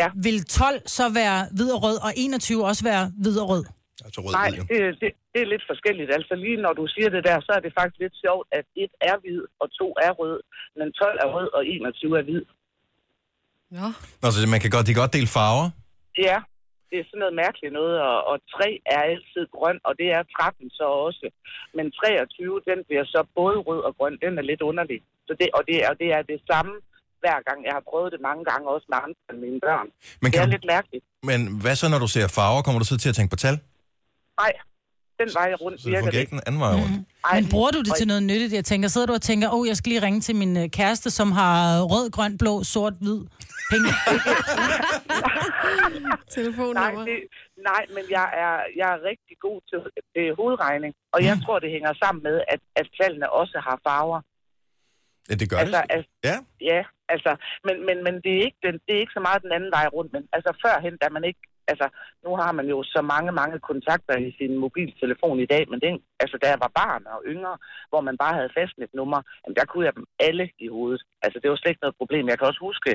Speaker 9: Ja.
Speaker 4: Vil 12 så være hvid og rød, og 21 også være hvid og rød?
Speaker 1: Altså rød,
Speaker 9: Nej,
Speaker 1: hvid, jo.
Speaker 9: det, det, det er lidt forskelligt. Altså lige når du siger det der, så er det faktisk lidt sjovt, at et er hvid, og to er rød. Men 12 er rød, og 21 er hvid.
Speaker 3: Nå.
Speaker 1: Nå, så man kan godt, de kan godt dele farver.
Speaker 9: Ja, det er sådan noget mærkeligt noget, og, og 3 er altid grøn, og det er 13 så også. Men 23, den bliver så både rød og grøn, den er lidt underlig. Så det, og, det, og det er det samme hver gang. Jeg har prøvet det mange gange, også med andre end mine børn.
Speaker 1: Men,
Speaker 9: Det er
Speaker 1: kan,
Speaker 9: lidt mærkeligt.
Speaker 1: men hvad så, når du ser farver? Kommer du så til at tænke på tal?
Speaker 9: Nej, den vej rundt
Speaker 1: Så det
Speaker 9: virker
Speaker 1: fungerer
Speaker 9: det.
Speaker 1: ikke den anden vej rundt.
Speaker 9: Ej,
Speaker 4: Men bruger du det til noget nyttigt? Jeg tænker, sidder du og tænker, åh, oh, jeg skal lige ringe til min øh, kæreste, som har rød, grøn, blå, sort, hvid, penge.
Speaker 9: Nej,
Speaker 3: Telefonnummer.
Speaker 9: det, nej, men jeg er, jeg er rigtig god til øh, hovedregning, og
Speaker 1: Mm.
Speaker 9: jeg tror, det hænger sammen med, at, at tallene også har farver.
Speaker 1: Ja, det gør
Speaker 9: Altså,
Speaker 1: det.
Speaker 9: altså,
Speaker 1: Ja.
Speaker 9: Ja, altså, men, men, men det, er ikke den, det er ikke så meget den anden vej rundt. Men altså, førhen, da man ikke Altså, nu har man jo så mange, mange kontakter i sin mobiltelefon i dag, men den, altså, da jeg var barn og yngre, hvor man bare havde fastnet nummer, jamen, der kunne jeg dem alle i hovedet. Altså, det var slet ikke noget problem. Jeg kan også huske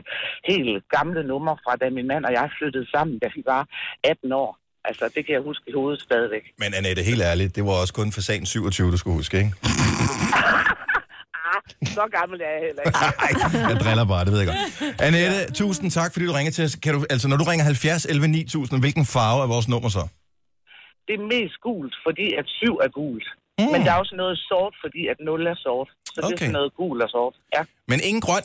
Speaker 9: helt gamle numre fra, da min mand og jeg flyttede sammen, da vi var 18 år. Altså, det kan jeg huske i hovedet stadigvæk.
Speaker 1: Men Annette, helt ærligt, det var også kun for sagen 27, du skulle huske, ikke?
Speaker 9: Ah, så gammel er jeg heller ikke.
Speaker 1: Nej, jeg driller bare, det ved jeg godt. Annette, tusind tak, fordi du ringer til os. Kan du, altså, når du ringer 70 11 9000, hvilken farve er vores nummer så?
Speaker 9: Det er mest gult, fordi at syv er gult. Mm. Men der er også noget sort, fordi at nul er sort. Så okay. det er
Speaker 1: Okay.
Speaker 9: sådan noget gul og sort. Ja.
Speaker 1: Men ingen grøn.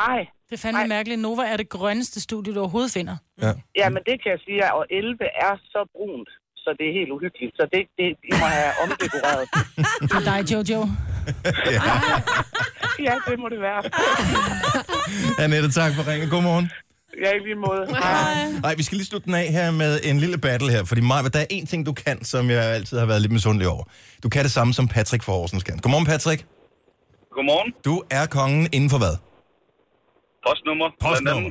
Speaker 9: Nej,
Speaker 4: Det er fandme
Speaker 9: Nej.
Speaker 4: mærkeligt. Nova er det grønneste studie, du overhovedet finder.
Speaker 1: Ja.
Speaker 9: Ja, men det kan jeg sige, og 11 er så brunt, så det er helt uhyggeligt. Så det, det I må have omdekoreret.
Speaker 4: Det er dig, Jojo.
Speaker 9: ja, det må det være.
Speaker 1: Annette, tak for ringen. Godmorgen.
Speaker 9: Ja, i lige måde. Hej.
Speaker 1: Nej, vi skal lige slutte den af her med en lille battle her, fordi Maja, der er en ting, du kan, som jeg altid har været lidt misundelig over. Du kan det samme, som Patrick fra Horsens kan. Godmorgen, Patrick.
Speaker 8: Godmorgen.
Speaker 1: Du er kongen inden for hvad?
Speaker 8: Postnummer.
Speaker 1: Postnummer.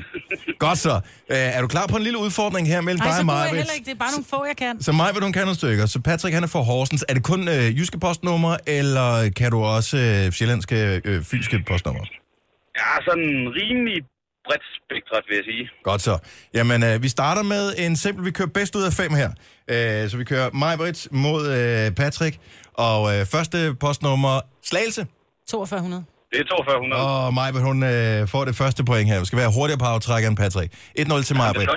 Speaker 1: Godt så. Øh, er du klar på en lille udfordring her mellem
Speaker 4: Nej,
Speaker 1: dig
Speaker 4: så
Speaker 1: og
Speaker 4: bruger
Speaker 1: Maja?
Speaker 4: jeg heller ikke. Det er bare nogle få, jeg kan.
Speaker 1: Så mig vil du kan nogle stykker. Så Patrick, han er fra Horsens. Er det kun øh, jyske postnummer, eller kan du også øh, sjællandske, øh, fynske postnummer?
Speaker 8: Ja, sådan rimelig bredt spektret, vil jeg sige.
Speaker 1: Godt så. Jamen, øh, vi starter med en simpel, vi kører bedst ud af fem her. Øh, så vi kører Majbrit mod øh, Patrick, og øh, første postnummer Slagelse.
Speaker 4: 4200.
Speaker 8: Det er 4200. Oh,
Speaker 1: Og Majbrit, hun øh, får det første point her. Vi skal være hurtigere på aftrækker end Patrick. 1-0 til Majbrit.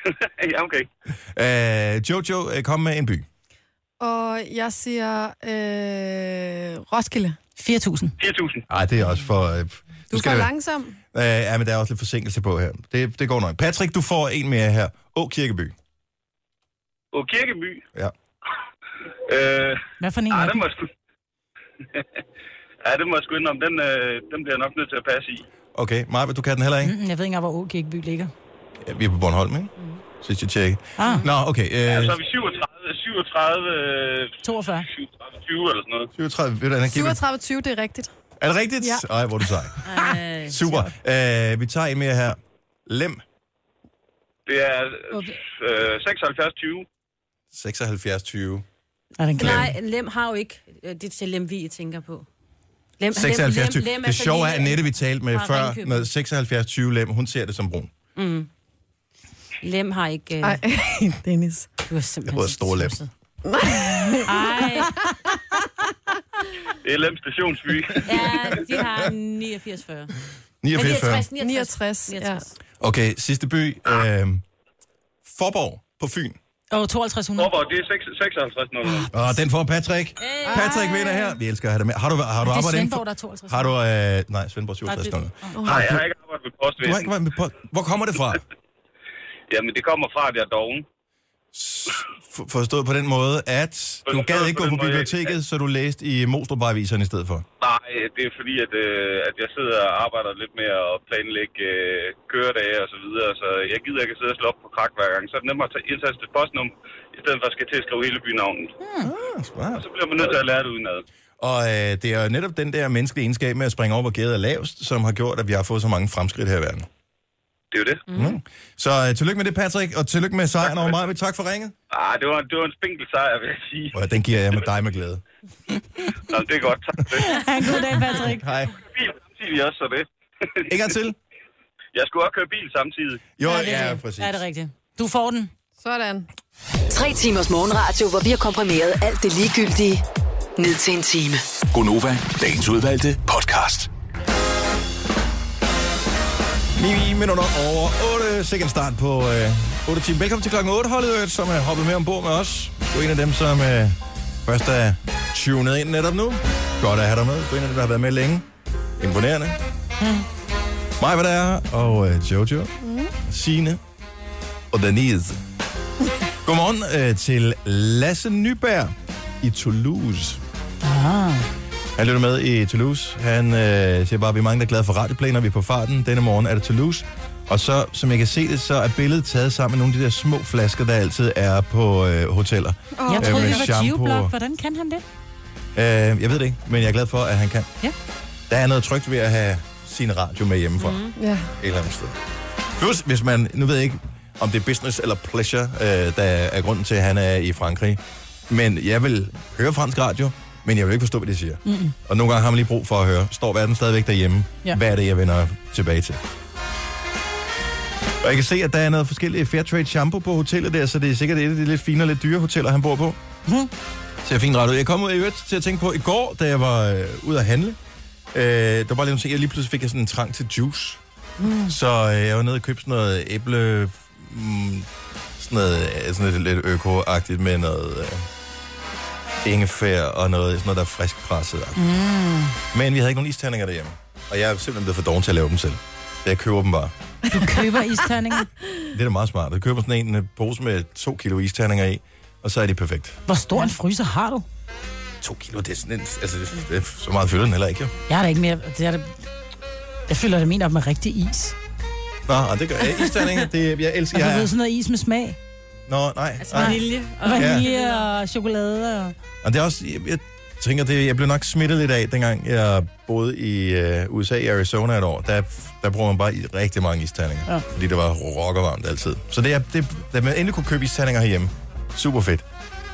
Speaker 8: ja, okay.
Speaker 1: Øh, Jojo, øh, kom med en by.
Speaker 3: Og jeg siger øh, Roskilde.
Speaker 4: 4000.
Speaker 8: 4000.
Speaker 1: Nej, det er også for... Øh, du
Speaker 3: Du er for langsom.
Speaker 1: Øh, ja, men der er også lidt forsinkelse på her. Det, det går nok. Patrick, du får en mere her. Å Kirkeby.
Speaker 8: Og Kirkeby.
Speaker 1: Ja.
Speaker 8: Øh,
Speaker 4: Hvad for en
Speaker 8: ah,
Speaker 4: er
Speaker 8: den
Speaker 4: det?
Speaker 8: må jeg sgu... ja, den må jeg sgu indrømme. Den, øh, den bliver jeg nok nødt til at passe i.
Speaker 1: Okay, Maja, du kan den heller ikke?
Speaker 4: Mm, Jeg ved ikke engang, hvor Åkirkeby ligger.
Speaker 1: Ja, vi er på Bornholm, ikke? Mm. Sidst jeg tjekkede.
Speaker 4: Ah.
Speaker 1: Nå, okay.
Speaker 8: Ja,
Speaker 1: Øh,
Speaker 8: så er vi 37, 37, øh,
Speaker 4: 42.
Speaker 8: 37 20 eller sådan noget.
Speaker 1: 37, ved du, Anna, giv mig-
Speaker 3: 37,20, det er rigtigt.
Speaker 1: er det rigtigt?
Speaker 3: Ja.
Speaker 1: Ej, hvor er du sej.
Speaker 2: Øh,
Speaker 1: Super. Øh, vi tager en mere her. Lem.
Speaker 8: Det er øh, 76 20.
Speaker 1: 76, 20.
Speaker 4: Er den klar?
Speaker 2: nej, Lem har jo ikke øh, det til Lemvi, jeg tænker på. Lem,
Speaker 1: 76, 20. Det
Speaker 2: så
Speaker 1: sjove er,
Speaker 2: lille,
Speaker 1: at Nette, vi talte med
Speaker 2: fra
Speaker 1: før,
Speaker 2: Ringkøbing. Mm.
Speaker 1: med 76, 20 lem, hun ser det som brun.
Speaker 2: Lem har ikke... Øh,
Speaker 3: Nej, Dennis.
Speaker 2: du er simpelthen...
Speaker 1: Jeg bruger
Speaker 2: så
Speaker 1: store lem.
Speaker 2: tosset. Ej,
Speaker 8: Det er Lem Stationsby.
Speaker 2: ja, de har 89, 40.
Speaker 1: 89, 40.
Speaker 2: 69, 69.
Speaker 3: 69, ja.
Speaker 2: 69.
Speaker 1: Okay, sidste by. Øh, Forborg på Fyn.
Speaker 4: Åh, 5200.
Speaker 8: Forborg, det er 6, 56 noget.
Speaker 4: Ah.
Speaker 1: Og den får Patrick. Hey. Patrick vinder her. Vi elsker at have dig med. Har du, har du
Speaker 4: Det er
Speaker 1: arbejdet inden
Speaker 4: Svendborg, der
Speaker 1: for...
Speaker 4: er 52.
Speaker 1: Har du... Øh, nej, Svendborg 67.
Speaker 4: Nej, det-
Speaker 1: Har,
Speaker 8: Nej, jeg
Speaker 1: du,
Speaker 8: har ikke arbejdet med
Speaker 1: du har ikke
Speaker 8: postvæsen.
Speaker 1: været med på... Hvor kommer det fra?
Speaker 8: Jamen, det kommer fra, at jeg er doven.
Speaker 1: F- forstået på den måde, at du
Speaker 8: Forstået
Speaker 1: gad ikke
Speaker 8: på
Speaker 1: gå
Speaker 8: den
Speaker 1: på
Speaker 8: måde, jeg-
Speaker 1: biblioteket, så du læste i mostrup i stedet for.
Speaker 8: Nej, det er fordi, at, øh, at jeg sidder og arbejder lidt med at planlægge øh, køredage og så videre, så jeg gider ikke at sidde og slå op på krak hver gang. Så er det nemmere at tage indtaste postnummer, i stedet for at skal til at skrive hele bynavnet.
Speaker 4: Hmm.
Speaker 1: Ah, smart.
Speaker 8: Så bliver man nødt til at lære det udenad.
Speaker 1: Og øh, det er jo netop den der menneskelige egenskab med at springe over, hvor gæret er lavest, som har gjort, at vi har fået så mange fremskridt her i verden.
Speaker 8: Det er jo det. Mm.
Speaker 1: Mm. Så øh, tillykke med det, Patrick, og tillykke med sejren over mig. Tak for ringet.
Speaker 8: Ah, det var, det var en spinkel sejr, vil jeg sige.
Speaker 1: Og den giver jeg med dig med glæde.
Speaker 8: Nå, det er godt. Tak for det.
Speaker 4: Ha' en god dag, Patrick.
Speaker 1: Hej.
Speaker 8: Bil samtidig også, så det.
Speaker 1: En gang til.
Speaker 8: Jeg skulle også køre bil samtidig.
Speaker 1: Jo,
Speaker 4: det er
Speaker 1: ja,
Speaker 4: det.
Speaker 1: præcis.
Speaker 4: Er det rigtigt? Du får den.
Speaker 3: Sådan.
Speaker 6: Tre timers morgenradio, hvor vi har komprimeret alt det ligegyldige ned til en time.
Speaker 5: Gonova, dagens udvalgte podcast.
Speaker 1: 9 minutter over 8. Sikkert start på øh, 8 timer. Velkommen til klokken 8, holdet, øh, som er hoppet med ombord med os. Du er en af dem, som øh, først er tunet ind netop nu. Godt at have dig med. Du er en af dem, der har været med længe. Imponerende. Mm. Mig, hvad der er, og øh, Jojo, mm. Signe og Denise. Godmorgen øh, til Lasse Nyberg i Toulouse. Han lytter med i Toulouse. Han øh, siger bare, at vi er mange, der er glade for radioplaner. når vi er på farten. Denne morgen er det Toulouse. Og så, som jeg kan se det, så er billedet taget sammen med nogle af de der små flasker, der altid er på øh, hoteller.
Speaker 4: Jeg
Speaker 1: Øh,
Speaker 4: troede,
Speaker 1: med
Speaker 4: det var
Speaker 1: shampoo.
Speaker 4: Geoblok. Hvordan kan han det?
Speaker 1: Øh, jeg ved det ikke, men jeg er glad for, at han kan.
Speaker 4: Ja.
Speaker 1: Der er noget trygt ved at have sin radio med hjemmefra. Mm. Et
Speaker 3: Ja.
Speaker 1: eller andet sted. Plus, hvis man, nu ved jeg ikke, om det er business eller pleasure, øh, der er grunden til, at han er i Frankrig. Men jeg vil høre fransk radio, men jeg vil ikke forstå, hvad de siger. Mm-hmm. Og nogle gange har man lige brug for at høre, står verden stadigvæk derhjemme?
Speaker 4: Ja.
Speaker 1: Ja. Hvad er det, jeg vender tilbage til? Og jeg kan se, at der er noget forskellige Fairtrade shampoo på hotellet der, så det er sikkert et af de lidt finere, lidt dyre hoteller, han bor på.
Speaker 4: Mhm.
Speaker 1: Ser fint ret ud. Jeg kom ud i øvrigt til at tænke på, i går, da jeg var øh, ude at handle, øh, der var bare lige nogle ting, jeg lige pludselig fik jeg sådan en trang til juice. Mm. Så øh, jeg var nede og købte sådan noget æble... Mm, sådan noget, øh, sådan noget lidt øko-agtigt med noget... Øh, ingefær og noget, sådan noget, der er frisk presset. Mm. Men vi havde ikke nogen isterninger derhjemme. Og jeg er simpelthen blevet for doven til at lave dem selv. Så jeg køber dem bare.
Speaker 4: Du køber isterninger.
Speaker 1: Det er da meget smart. Du køber sådan en øh, pose med to kilo isterninger i, og så er det perfekt.
Speaker 4: Hvor stor en fryser har du?
Speaker 1: To kilo, det er sådan en... Altså, det, det er så meget fylder den heller ikke, jo.
Speaker 4: Jeg er da ikke mere... Det er da... Jeg fylder det min op med rigtig is.
Speaker 1: Nå, ej, det gør jeg. Isterninger, det, jeg elsker...
Speaker 4: Og du
Speaker 1: Jeg,
Speaker 4: ved
Speaker 1: er-
Speaker 4: sådan noget is med smag.
Speaker 1: nå, nej. nej.
Speaker 2: Altså, Vanilje. Og
Speaker 4: Vanilje og chokolade og...
Speaker 1: Og det er også, jeg, jeg tænker, det, jeg blev nok smittet lidt af, dengang jeg boede i øh, USA, i Arizona et år. Der, der bruger man bare i- rigtig mange isterninger,
Speaker 4: Ja.
Speaker 1: ja. fordi det var rockervarmt altid. Så det er, det, da man endelig kunne købe isterninger herhjemme, super fedt.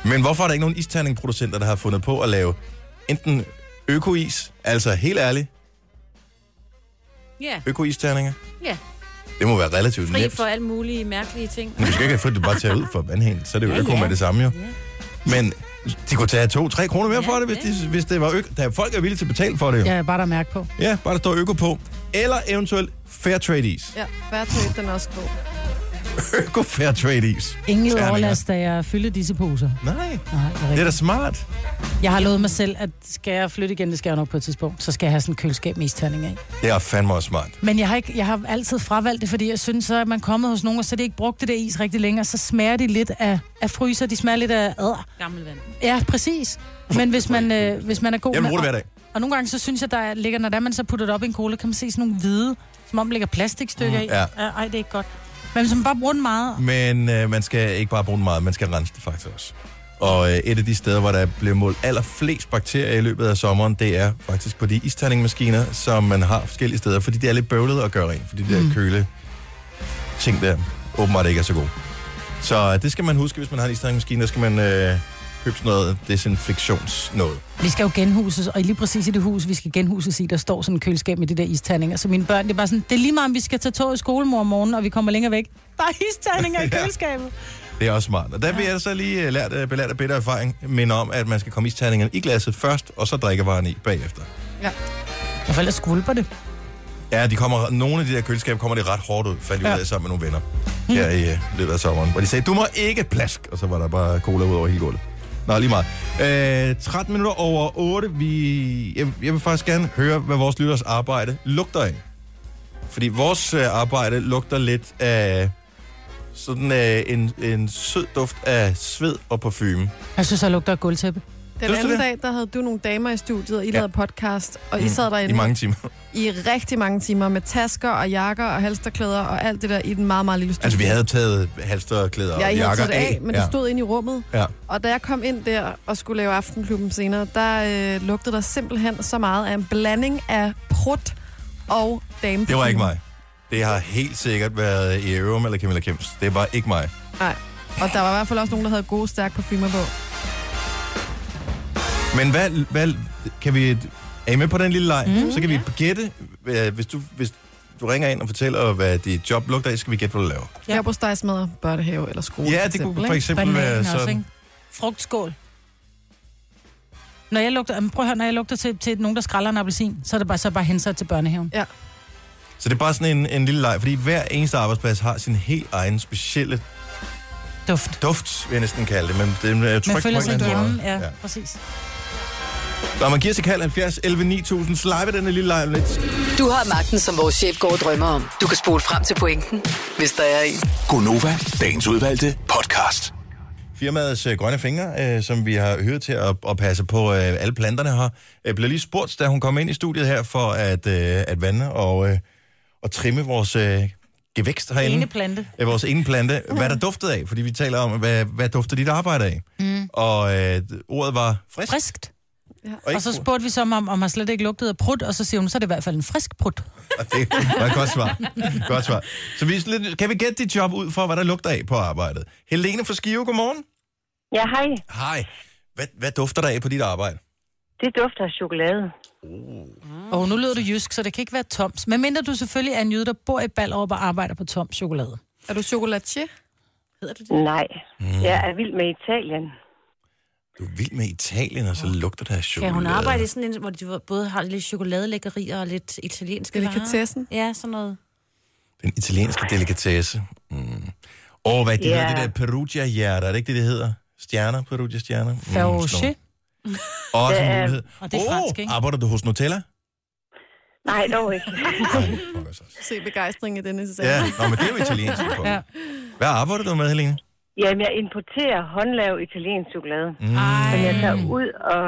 Speaker 1: Men hvorfor er der ikke nogen isterningproducenter, der har fundet på at lave enten økois, altså helt ærligt,
Speaker 2: Ja,
Speaker 1: økoisterninger?
Speaker 2: ja.
Speaker 1: Det må være relativt
Speaker 2: Fri
Speaker 1: nemt.
Speaker 2: for alle mulige mærkelige ting.
Speaker 1: Men du skal ikke få det bare taget ud for vandhæn, så er det jo
Speaker 2: Ja,
Speaker 1: øko
Speaker 2: ja.
Speaker 1: med det samme jo. Men de kunne tage 2-3 kroner mere
Speaker 2: Ja,
Speaker 1: for det, hvis, de, hvis det var øko. Der er folk, er villige til at betale for det jo.
Speaker 4: Ja, bare der mærke på.
Speaker 1: Ja, bare der står øko på. Eller eventuelt Fairtrade is.
Speaker 3: Ja, Fairtrade, den er også god.
Speaker 1: Øko Fairtrade is.
Speaker 4: Ingen
Speaker 1: Terninger.
Speaker 4: overlast, da jeg fyldte disse poser.
Speaker 1: Nej,
Speaker 4: Nej, det er
Speaker 1: det er da
Speaker 4: rigtigt.
Speaker 1: smart.
Speaker 4: Jeg har lovet mig selv, at skal jeg flytte igen, det skal jeg nok på et tidspunkt, så skal jeg have sådan en køleskab med isterninger i.
Speaker 1: Det er fandme også smart.
Speaker 4: Men jeg har, ikke, jeg har altid fravalgt det, fordi jeg synes, så er man kommet hos nogen, og så er det ikke brugt det der is rigtig længere, så smager de lidt af, af fryser, de smager lidt af adder.
Speaker 2: Gammel vand.
Speaker 4: Ja, præcis. Men hvis man, øh, hvis man er god
Speaker 1: Jeg vil
Speaker 4: med...
Speaker 1: bruge det hver dag.
Speaker 4: Og nogle gange, så synes jeg, der ligger, når det er, man så putter det op i en cola, kan man se sådan nogle hvide, som om der ligger plastikstykker i.
Speaker 1: Mm, ja.
Speaker 4: Ej, det er ikke godt. Men hvis man bare bruger den meget...
Speaker 1: Men øh, man skal ikke bare bruge den meget, man skal rense det faktisk også. Og øh, et af de steder, hvor der blev målt allerflest bakterier i løbet af sommeren, det er faktisk på de isterningmaskiner, som man har forskellige steder, fordi det er lidt bøvlet at gøre rent, fordi de der mm. køle ting der åbenbart ikke er så gode. Så øh, det skal man huske, hvis man har en isterningmaskine, der skal man øh, købe sådan noget desinfektionsnoget.
Speaker 4: Vi skal jo genhuses, og lige præcis i det hus, vi skal genhuses i, der står sådan en køleskab med de der isterninger. Så mine børn, det er bare sådan, det er lige meget, om vi skal tage tog i skolemor om morgenen, og vi kommer længere væk. Der er isterninger i
Speaker 1: Ja.
Speaker 4: køleskabet.
Speaker 1: Det er også smart. Og der vil jeg så lige øh, lært, øh, belært af bitter erfaring minde om, at man skal komme isterningerne i glasset først, og så drikkevaren i bagefter.
Speaker 4: Ja, for ellers skvulper det.
Speaker 1: Ja, de kommer, nogle af de der køleskaber kommer det ret hårdt ud, fandt jeg
Speaker 4: Ja.
Speaker 1: ud af sammen med nogle venner her i øh, løbet af sommeren, hvor de sagde, du må ikke plask, og så var der bare cola ud over hele gulvet. Nå, lige meget. Øh, 13 minutter over 8. Vi, jeg, jeg vil faktisk gerne høre, hvad vores lytters arbejde lugter af. Fordi vores øh, arbejde lugter lidt af sådan øh, en, en sød duft af sved og parfume.
Speaker 4: Jeg synes, jeg lugter af gulvtæppe.
Speaker 3: Den
Speaker 1: Synes du
Speaker 3: anden
Speaker 1: det? Mm.
Speaker 3: dag, der havde du nogle damer i studiet, og I ja. lavede podcast, og I sad
Speaker 1: I
Speaker 3: derinde
Speaker 1: mange timer.
Speaker 3: i rigtig mange timer med tasker og jakker og halsterklæder og alt det der i den meget, meget lille studie.
Speaker 1: Altså, vi havde taget halsterklæder og
Speaker 3: Ja, I
Speaker 1: jakker
Speaker 3: havde taget det af, men ja.
Speaker 1: ja.
Speaker 3: det stod inde i rummet.
Speaker 1: Ja.
Speaker 3: Og da jeg kom ind der og skulle lave Aftenklubben senere, der øh, lugtede der simpelthen så meget af en blanding af prut og dame.
Speaker 1: Det var ikke mig. Det har helt sikkert været i Erum eller Camilla Kims. Det var ikke mig.
Speaker 3: Nej. Og der var i hvert fald også nogen, der havde gode, stærke parfumer på.
Speaker 1: Men hvad, hvad kan vi... Er I med på den lille leg? Mm, så kan vi gætte, øh, hvis du, hvis du ringer ind og fortæller, hvad dit job lugter af, så skal vi gætte, hvad du laver.
Speaker 3: Ja. Jeg på stegsmadder, børnehave eller skole.
Speaker 1: Ja,
Speaker 3: for
Speaker 1: det kunne
Speaker 3: eksempel,
Speaker 1: for
Speaker 3: ikke?
Speaker 1: eksempel være
Speaker 4: Bananen også,
Speaker 1: sådan.
Speaker 4: ikke? Frugtskål. Når jeg lugter, jamen, prøv at høre, når jeg lugter til, til nogen, der skræller en appelsin, så er det bare, så er det bare henset til børnehaven.
Speaker 3: Ja.
Speaker 1: Så det er bare sådan en, en lille leg, fordi hver eneste arbejdsplads har sin helt egen specielle
Speaker 4: Duft.
Speaker 1: duft, vil jeg næsten kalde det, men det er
Speaker 4: Man
Speaker 1: tryk på en
Speaker 4: føler
Speaker 1: eller
Speaker 4: sig
Speaker 1: anden
Speaker 4: hjemme.
Speaker 1: måde.
Speaker 4: Ja, ja, præcis.
Speaker 1: Når man giver sig kald 70 11 9000, slide den her lille leg om lidt.
Speaker 6: Du har magten, som vores chef går og drømmer om. Du kan spole frem til pointen, hvis der er en.
Speaker 5: Gonova, dagens udvalgte podcast.
Speaker 1: Firmaets øh, Grønne Fingre, øh, som vi har hørt til at, at passe på øh, alle planterne her, øh, blev lige spurgt, da hun kom ind i studiet her, for at, øh, at vande og, øh, og trimme vores øh, gevækst herinde.
Speaker 4: Ene plante.
Speaker 1: Øh, vores ene plante. Hvad der duftede af, fordi vi taler om, hvad, hvad dufter dit arbejde af. Mm. Og øh, ordet var frisk.
Speaker 4: Friskt. Og så spurgte vi så, om, om han slet ikke lugtede af prut, og så siger hun, så er det i hvert fald en frisk prut.
Speaker 1: Og Det var et godt svar. Godt svar. Så vi, er lidt- kan vi gætte dit job ud for, hvad der lugter af på arbejdet? Helene fra Skive, godmorgen.
Speaker 7: Ja, hej.
Speaker 1: Hej. Hvad, hvad dufter der af på dit arbejde?
Speaker 7: Det dufter af chokolade.
Speaker 1: Oh.
Speaker 4: Og nu lyder du jysk, så det kan ikke være toms. Men mindre du selvfølgelig er en jyde, der bor i Ballerup og arbejder på tom chokolade.
Speaker 3: Er du chokolatier?
Speaker 7: Nej, jeg er vild med Italien.
Speaker 1: Du er vild med Italien, og så lugter der af chokolade.
Speaker 2: Kan hun arbejde i sådan en, hvor de både har lidt chokoladelækkerier og lidt italienske
Speaker 3: Delikatessen?
Speaker 2: varer? Ja, sådan noget.
Speaker 1: Den italienske delikatesse. Mm. Og hvad det
Speaker 7: Ja.
Speaker 1: hedder, det der Perugia-hjerter, er det ikke det, det hedder? Stjerner, Perugia-stjerner. Mm, sådan noget.
Speaker 4: Ferroche.
Speaker 1: Også en
Speaker 7: Ja,
Speaker 1: mulighed.
Speaker 4: og det er fransk, ikke?
Speaker 1: Oh, arbejder du hos Nutella?
Speaker 7: Nej, dog ikke.
Speaker 1: Nej, fuck os også.
Speaker 3: Se begejstring i denne sæson.
Speaker 1: Ja, Nå, men det er jo italiensk. Ja.
Speaker 4: Ja.
Speaker 1: Hvad arbejder du med, Helene?
Speaker 7: Jamen, jeg importerer håndlavet italiensk chokolade,
Speaker 1: Mm.
Speaker 7: som jeg tager ud og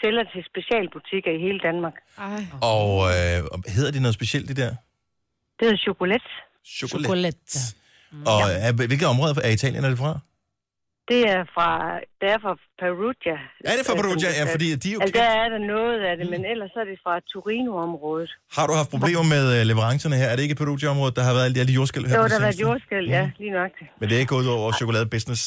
Speaker 7: sælger til specialbutikker i hele Danmark.
Speaker 3: Ej.
Speaker 1: Og øh, og hedder det noget specielt, det der?
Speaker 7: Det hedder chokolat.
Speaker 1: Chokolade.
Speaker 4: Chokolade.
Speaker 1: Og er, hvilket område af Italien er det fra?
Speaker 7: Det er fra, det er fra Perugia.
Speaker 1: Er det fra Perugia? Ja, fordi de er jo
Speaker 7: Altså,
Speaker 1: kendt.
Speaker 7: der er der noget af det, men ellers er det fra Torino-området.
Speaker 1: Har du haft problemer med øh, leverancerne her? Er det ikke Perugia-området, der har været alle de, alle de jordskæld her?
Speaker 7: Der
Speaker 1: på
Speaker 7: har
Speaker 1: det
Speaker 7: der været
Speaker 1: seneste?
Speaker 7: jordskæld,
Speaker 1: Mm.
Speaker 7: ja, lige nok.
Speaker 1: Men det er ikke gået ud over chokoladebusiness?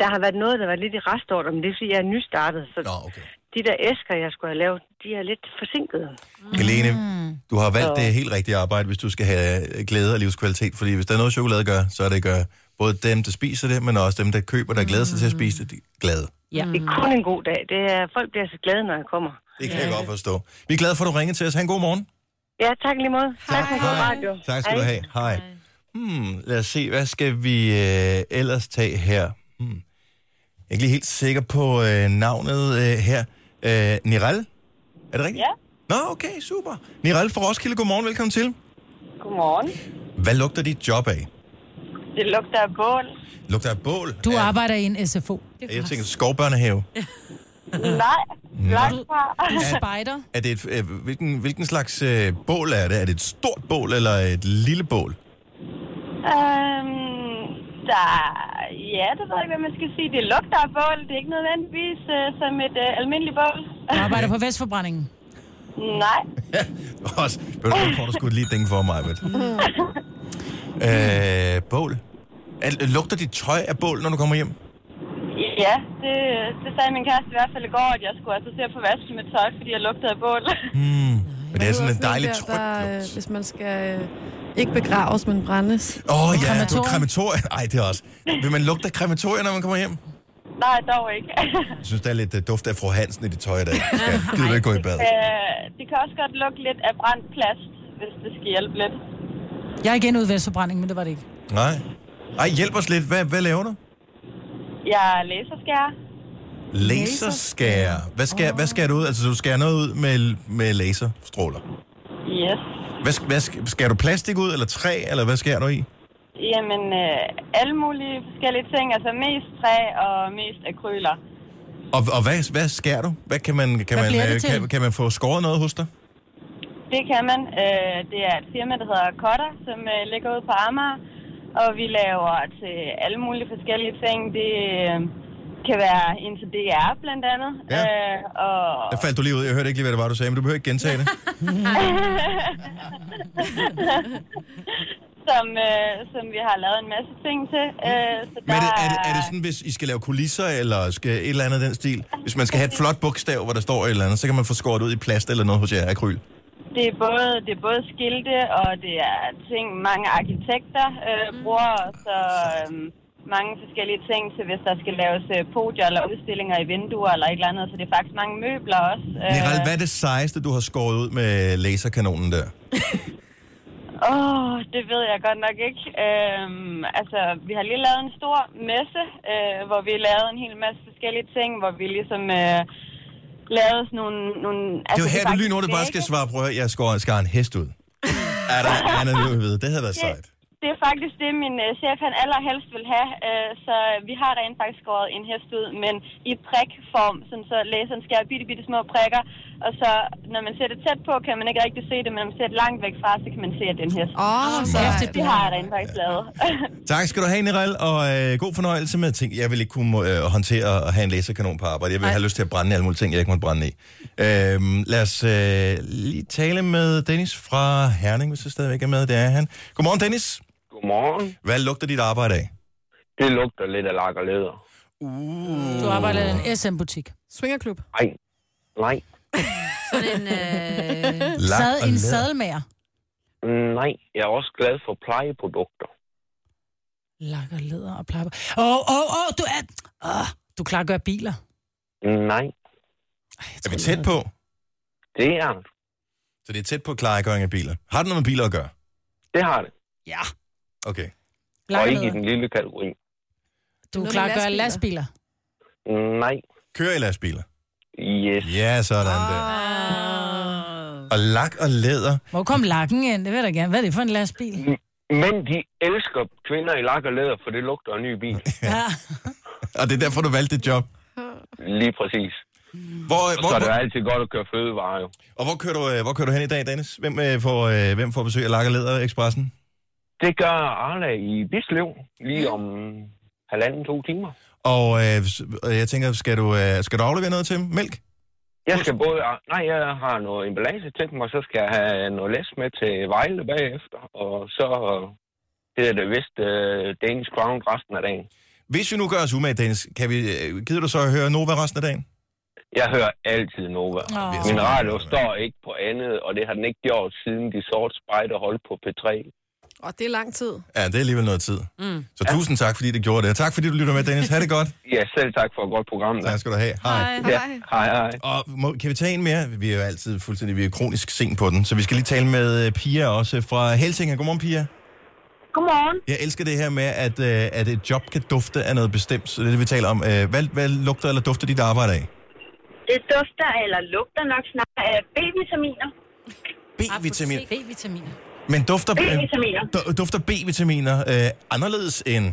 Speaker 7: Der har været noget, der var lidt i restordre, men det er fordi, jeg er nystartet. Så
Speaker 1: Nå, okay.
Speaker 7: de der æsker, jeg skulle have lavet, de er lidt forsinkede.
Speaker 1: Mm. Helene, du har valgt det helt rigtige arbejde, hvis du skal have glæde og livskvalitet. Fordi hvis der er noget, chokolade gør, så er det gør både dem, der spiser det, men også dem, der køber, der glæder sig til at spise det, de er glade.
Speaker 7: Ja. Det er kun en god dag. Det er, folk bliver så glade, når jeg kommer.
Speaker 1: Det kan jeg godt forstå. Vi er glade for, at du ringede til os. Ha' en god morgen.
Speaker 7: Ja, tak lige måde. Tak for god radio.
Speaker 1: Tak skal du
Speaker 7: Hej.
Speaker 1: have. Hej. Hmm, lad os se, hvad skal vi øh, ellers tage her? Hmm. Jeg er ikke lige helt sikker på øh, navnet øh, her. Øh, Niral? Er det rigtigt? Ja. Nå, okay, super. Niral fra Roskilde, godmorgen, velkommen til. Mm.
Speaker 7: Godmorgen.
Speaker 1: Hvad lugter dit job af?
Speaker 7: Det lugter af bål.
Speaker 1: Lugter af bål?
Speaker 4: Du
Speaker 1: af,
Speaker 4: arbejder i en SFO.
Speaker 1: Jeg tænker, skovbørnehave.
Speaker 7: Nej, langt
Speaker 1: Nå.
Speaker 7: fra.
Speaker 4: Du er spejder.
Speaker 1: Er det et, øh, hvilken, hvilken slags øh, bål er det? Er det et stort bål eller et lille bål?
Speaker 7: Øhm, der, ja, det ved jeg ikke, hvad man skal sige. Det lugter af bål. Det er ikke nødvendigvis øh, som et øh, almindeligt bål.
Speaker 4: Du arbejder på Vestforbrændingen.
Speaker 7: Nej.
Speaker 1: Ja, også. Ved du, hvad, nu får du sgu et lille ding for mig, vel? øh, bål. Er, lugter dit tøj af bål, når du kommer hjem?
Speaker 7: Ja, det, det sagde min kæreste i hvert fald i går, at jeg skulle altså til at få vasket mit tøj, fordi jeg lugtede af bål.
Speaker 1: Men det er sådan en dejlig
Speaker 3: der,
Speaker 1: tryg
Speaker 3: der, øh,
Speaker 1: lugt.
Speaker 3: Hvis man skal øh, ikke begraves, men brændes.
Speaker 1: Åh oh, ja, du er
Speaker 4: krematorium.
Speaker 1: krematorium. Ej, det er også. Vil man lugte af krematorium, når man kommer hjem?
Speaker 7: Nej, dog ikke.
Speaker 1: Jeg synes, der er lidt uh, duft af fru Hansen i dit tøj i dag. Ja, gider du ikke gå i bad?
Speaker 7: øh, det kan også godt lugte lidt af brændt plast, hvis det skal hjælpe lidt.
Speaker 4: Jeg er igen ude i Vestforbrændingen, men det var det ikke.
Speaker 1: Nej. Ej, hjælp os lidt. Hvad, hvad laver du?
Speaker 7: Jeg læser skærer.
Speaker 1: Laserskærer. Hvad skærer, hvad skærer du ud? Altså, du skærer noget ud med, med laserstråler.
Speaker 7: Yes.
Speaker 1: Hvad, sk- hvad, sk- skærer du plastik ud, eller træ, eller hvad skærer du i?
Speaker 7: Jamen, øh, alle mulige forskellige ting. Altså mest træ og mest akryler.
Speaker 1: Og, og hvad, hvad skærer du? Hvad kan man, kan,
Speaker 4: Hvad bliver
Speaker 1: man,
Speaker 4: det
Speaker 1: øh,
Speaker 4: til?
Speaker 1: kan, kan man få skåret noget hos dig?
Speaker 7: Det kan man. Øh, det er et firma, der hedder Kotter, som øh, ligger ude på Amager. Og vi laver til alle mulige forskellige ting. Det øh, kan være ind til DR blandt andet.
Speaker 1: Ja.
Speaker 7: Øh, og
Speaker 1: Der faldt du lige ud. Jeg hørte ikke lige, hvad det var, du sagde, men du behøver ikke gentage det.
Speaker 7: som, øh, som vi har lavet en masse ting til. Øh, så
Speaker 1: Men
Speaker 7: der
Speaker 1: er det, er, det, er det sådan, hvis I skal lave kulisser, eller skal et eller andet af den stil? Hvis man skal have et flot bogstav, hvor der står et eller andet, så kan man få skåret ud i plast eller noget hos jer akryl.
Speaker 7: Det er både, det er både skilte, og det er ting, mange arkitekter øh, bruger, og så øh, mange forskellige ting til, hvis der skal laves øh, podier eller udstillinger i vinduer eller et eller andet. Så det er faktisk mange møbler også. Øh,
Speaker 1: Neral, hvad er det sejeste, du har skåret ud med laserkanonen der?
Speaker 7: Åh, det ved jeg godt nok ikke. Øhm, altså, vi har lige lavet en stor messe, øh, hvor vi lavede en hel masse forskellige ting, hvor vi ligesom øh, lavede sådan nogle... nogle
Speaker 1: Det er jo
Speaker 7: altså,
Speaker 1: her, du
Speaker 7: faktisk
Speaker 1: lige nu, det bare skal
Speaker 7: vægge.
Speaker 1: svare, prøv at høre, jeg skår, skar en hest ud. Er der andet, du ved? Det havde været sejt.
Speaker 7: det er faktisk det, min øh, chef han allerhelst vil have. Øh, så vi har rent faktisk skåret en hest ud, men i prikform, sådan så læseren skærer bitte, bitte små prikker. Og så, når man ser det tæt på, kan man ikke rigtig se det, men når man ser det langt væk fra, så kan man se, at det er en hest.
Speaker 3: Åh, oh, så
Speaker 7: Så det har jeg rent faktisk lavet.
Speaker 1: Tak skal du have, Nirel, og øh, god fornøjelse med ting. Jeg vil ikke kunne øh, håndtere at have en laserkanon på arbejde. Jeg vil have lyst til at brænde i alle mulige ting, jeg ikke må brænde i. Øhm, lad os øh, lige tale med Dennis fra Herning, hvis jeg stadigvæk er med. Det er han. Godmorgen, Dennis.
Speaker 10: Godmorgen.
Speaker 1: Hvad lugter dit arbejde af?
Speaker 10: Det lugter lidt af lak og leder.
Speaker 4: Du arbejder i en SM-butik.
Speaker 3: Swingerklub.
Speaker 10: Nej. Nej.
Speaker 2: Sådan en, øh,
Speaker 1: Lak
Speaker 4: Sad,
Speaker 1: og
Speaker 4: en
Speaker 1: læder.
Speaker 4: sadelmager.
Speaker 10: Nej. Jeg er også glad for plejeprodukter.
Speaker 4: Lak og læder og plapper. Åh, oh, åh, oh, åh, oh, du er... Oh, du klarer at gøre biler.
Speaker 10: Nej.
Speaker 4: Ej, jeg
Speaker 1: Er
Speaker 4: tror,
Speaker 1: vi tæt
Speaker 4: det
Speaker 1: på?
Speaker 10: Det er det.
Speaker 1: Så det er tæt på klargøring af biler. Har det noget med biler at gøre?
Speaker 10: Det har det.
Speaker 4: Ja,
Speaker 1: Okay.
Speaker 4: lak
Speaker 10: og
Speaker 4: og
Speaker 10: ikke i
Speaker 4: læder.
Speaker 10: den lille kategori.
Speaker 4: Du
Speaker 3: Noget
Speaker 4: klarer
Speaker 3: med
Speaker 4: at gøre
Speaker 3: lastbiler.
Speaker 4: lastbiler.
Speaker 10: Nej.
Speaker 1: Kører I lastbiler?
Speaker 10: Yes.
Speaker 1: Ja, sådan der. Og lak og læder.
Speaker 4: Hvor kom lakken ind? Det vil jeg da gerne. Hvad er det for en lastbil?
Speaker 10: Men de elsker kvinder i lak og læder, for det lugter af ny bil.
Speaker 4: Ja.
Speaker 1: Og det er derfor, du valgte dit job.
Speaker 10: Lige præcis.
Speaker 1: Hvor,
Speaker 10: Og
Speaker 1: hvor,
Speaker 10: så er det
Speaker 1: hvor,
Speaker 10: jo altid godt at køre fødevarer jo.
Speaker 1: og hvor kører, du, øh, hvor kører du hen i dag, Dennis? Hvem, øh, får, øh, hvem får besøg af lak og læder ekspressen?
Speaker 10: Det gør Arla i Bislev lige om halvanden, to timer.
Speaker 1: Og øh, s- og jeg tænker, skal du, øh, skal du aflevere noget til dem? Mælk?
Speaker 10: Jeg skal både... Nej, jeg har noget emballage til dem, og så skal jeg have noget læs med til Vejle bagefter. Og så hedder det vist uh, Danish Crown resten af dagen.
Speaker 1: Hvis vi nu gør os umage, Dennis, kan vi, øh, gider du så at høre Nova resten af dagen?
Speaker 10: Jeg hører altid Nova.
Speaker 4: Åh.
Speaker 1: Vi er så-
Speaker 10: Min radio står ikke på andet, og det har den ikke gjort siden de sorte spejder holdt på P3.
Speaker 3: Og det er lang tid.
Speaker 1: Ja, det er alligevel noget tid.
Speaker 2: Mm.
Speaker 1: Så tusind tak, fordi det gjorde det. Og tak, fordi du lytter med, Dennis. Ha' det godt.
Speaker 10: Ja, selv tak for et godt program. Da.
Speaker 1: Tak skal du have. Hej. Hej.
Speaker 10: Ja, hej, hej.
Speaker 1: Og må, kan vi tage en mere? Vi er jo altid fuldstændig vi er kronisk sent på den, så vi skal lige tale med øh, Pia også fra Helsinge. Godmorgen, Pia.
Speaker 7: Godmorgen.
Speaker 1: Jeg elsker det her med, at, øh, at et job kan dufte af noget bestemt. Så det er det, vi taler om. Øh, Hvad, hvad lugter eller dufter dit arbejde af?
Speaker 7: Det dufter eller lugter nok snart af B-vitaminer.
Speaker 1: B-vitamin.
Speaker 4: B-vitaminer.
Speaker 1: Men dufter, øh,
Speaker 7: B-vitaminer.
Speaker 1: du- dufter B-vitaminer øh, anderledes end,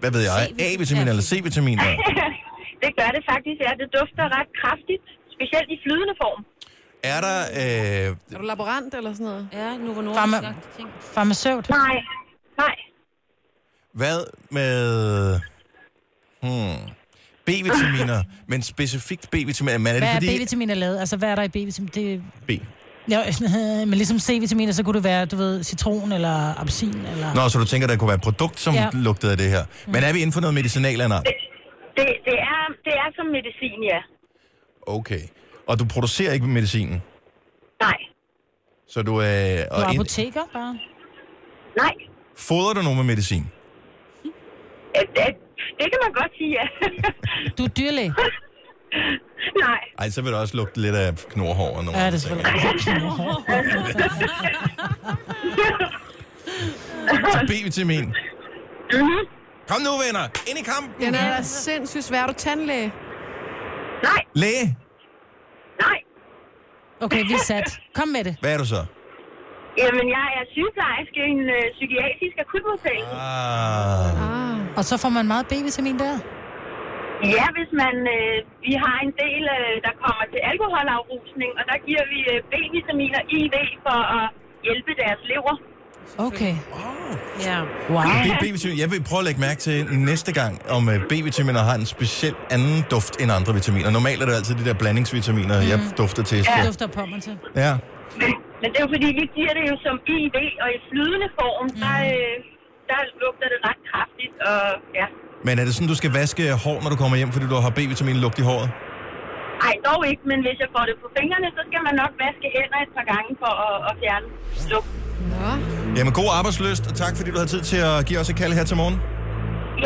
Speaker 1: hvad ved jeg,
Speaker 2: C-vitamin.
Speaker 1: A-vitaminer eller C-vitaminer?
Speaker 7: det gør det faktisk, ja. Det dufter ret kraftigt, specielt i flydende form.
Speaker 1: Er der... Øh,
Speaker 3: Er du laborant eller sådan noget?
Speaker 2: ja, nu var
Speaker 4: Farma-
Speaker 2: nogen ting.
Speaker 4: Farmaceut.
Speaker 7: Nej, nej.
Speaker 1: hvad med... Hmm, B-vitaminer, men specifikt B-vitaminer. Men er det
Speaker 4: Hvad er
Speaker 1: fordi...
Speaker 4: B-vitaminer lavet? Altså, hvad er der i B-vitamin? Det...
Speaker 1: B.
Speaker 4: Ja, men ligesom C-vitaminer, så kunne det være, du ved, citron eller appelsin. Eller...
Speaker 1: Nå, så du tænker, der kunne være et produkt, som ja.
Speaker 4: Ja. Mm.
Speaker 1: lugtede af det her. Men er vi inden for noget medicinal eller nej?
Speaker 7: Det, det, er, det er som medicin, ja.
Speaker 1: Okay. Og du producerer ikke medicinen?
Speaker 7: Nej,
Speaker 1: Så du, øh,
Speaker 4: Du er
Speaker 1: og ind,
Speaker 4: apoteker bare.
Speaker 7: nej.
Speaker 1: fodrer du nogen med medicin?
Speaker 7: Øh, Det, det kan man godt sige, ja.
Speaker 4: Du er dyrlæge.
Speaker 7: nej,
Speaker 1: Ej, så vil det også lugte lidt af knorhår og nogle
Speaker 4: Ja, det
Speaker 1: andre
Speaker 4: er
Speaker 1: ting.
Speaker 4: selvfølgelig.
Speaker 1: Så B-vitamin. Kom nu, venner. Ind i kampen.
Speaker 3: Den er da sindssygt svær. Er du tandlæge?
Speaker 7: nej,
Speaker 1: Læge,
Speaker 7: nej.
Speaker 4: Okay, vi er sat. Kom med det.
Speaker 1: hvad er du så?
Speaker 7: Jamen, jeg er sygeplejerske i en øh, psykiatrisk akutmodtagelse.
Speaker 1: Ah.
Speaker 4: Og så får man meget B-vitamin der.
Speaker 7: Ja, hvis man... Øh, vi har en del, øh, der kommer til alkoholafrusning, og der giver vi øh, B-vitaminer IV for at hjælpe deres lever.
Speaker 4: Okay.
Speaker 2: Ja.
Speaker 4: Wow.
Speaker 1: Det er B-vitamin. Jeg vil prøve at lægge mærke til næste gang, om øh, B-vitaminer har en speciel anden duft end andre vitaminer. Normalt er det altid de der blandingsvitaminer, mm. jeg dufter til.
Speaker 4: Det
Speaker 1: Ja.
Speaker 4: dufter på mig til.
Speaker 1: ja.
Speaker 7: Men, men det er jo fordi, vi giver det jo som IV, og i flydende form, der,
Speaker 4: Mm.
Speaker 7: øh, der lugter det ret kraftigt, og ja.
Speaker 1: Men er det sådan, du skal vaske hår, når du kommer hjem, fordi du har B-vitamin lugt i håret?
Speaker 7: Ej, dog ikke, men hvis jeg får det på fingrene, så skal man nok vaske hænder et par gange for at, at fjerne lugten.
Speaker 1: Jamen, god arbejdsløst, og tak fordi du har tid til at give os et kald her til morgen.